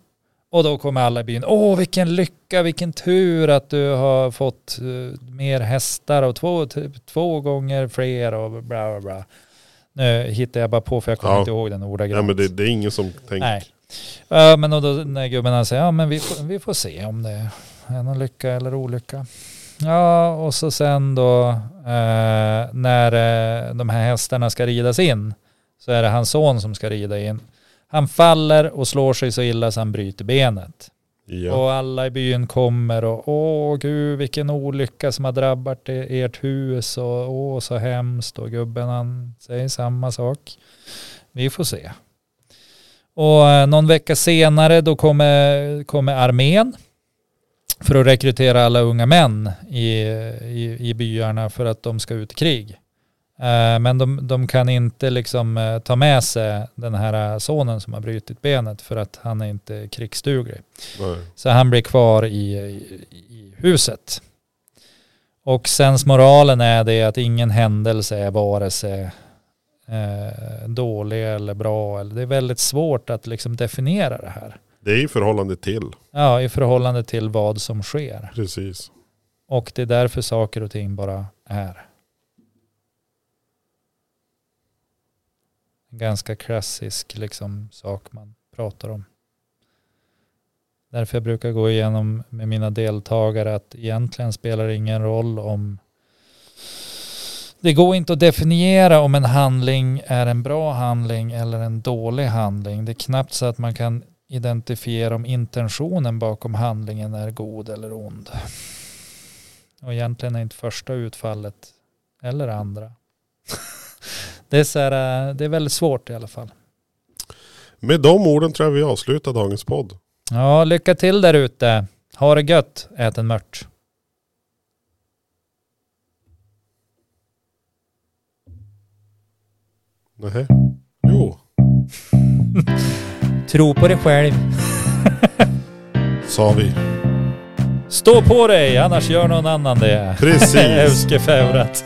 Och då kommer alla i byn. Åh, vilken lycka, vilken tur att du har fått eh, mer hästar och två, typ, två gånger fler och bla bla bla. Nu hittar jag bara på för jag kommer Ja. inte ihåg den Nej ordagrant. men det, det är ingen som tänker. Nej. Ja, men och då när gubben han säger, ja men vi får, vi får se om det är någon lycka eller olycka. Ja, och så sen då eh, när eh, de här hästarna ska ridas in så är det hans son som ska rida in. Han faller och slår sig så illa så han bryter benet. Ja. Och alla i byn kommer och åh gud vilken olycka som har drabbat e- ert hus och åh så hemskt och gubben han säger samma sak. Vi får se. Och eh, någon vecka senare då kommer, kommer armén för att rekrytera alla unga män i, i, i byarna för att de ska ut i krig. Eh, Men de, de kan inte liksom eh, ta med sig den här eh, sonen som har brutit benet för att han är inte krigsduglig. Nej. Så han blir kvar i, i, i huset. Och sens moralen är det att ingen händelse är vare sig eh, dålig eller bra. Eller, det är väldigt svårt att liksom definiera det här. Det är i förhållande till. Ja, i förhållande till vad som sker. Precis. Och det är därför saker och ting bara är. En ganska klassisk liksom, sak man pratar om. Därför jag brukar gå igenom med mina deltagare att egentligen spelar det ingen roll om det går inte att definiera om en handling är en bra handling eller en dålig handling. Det är knappt så att man kan identifiera om intentionen bakom handlingen är god eller ond. Och egentligen är inte första utfallet eller andra. det, är så här, eh, det är väldigt svårt i alla fall. Med de orden tror jag vi avslutar dagens podd. Ja, lycka till där ute. Ha det gött. Ät en mört. Nähä. Jo. Tro på dig själv. Sa vi. Stå på dig, annars gör någon annan det. Precis. Euskefeurat.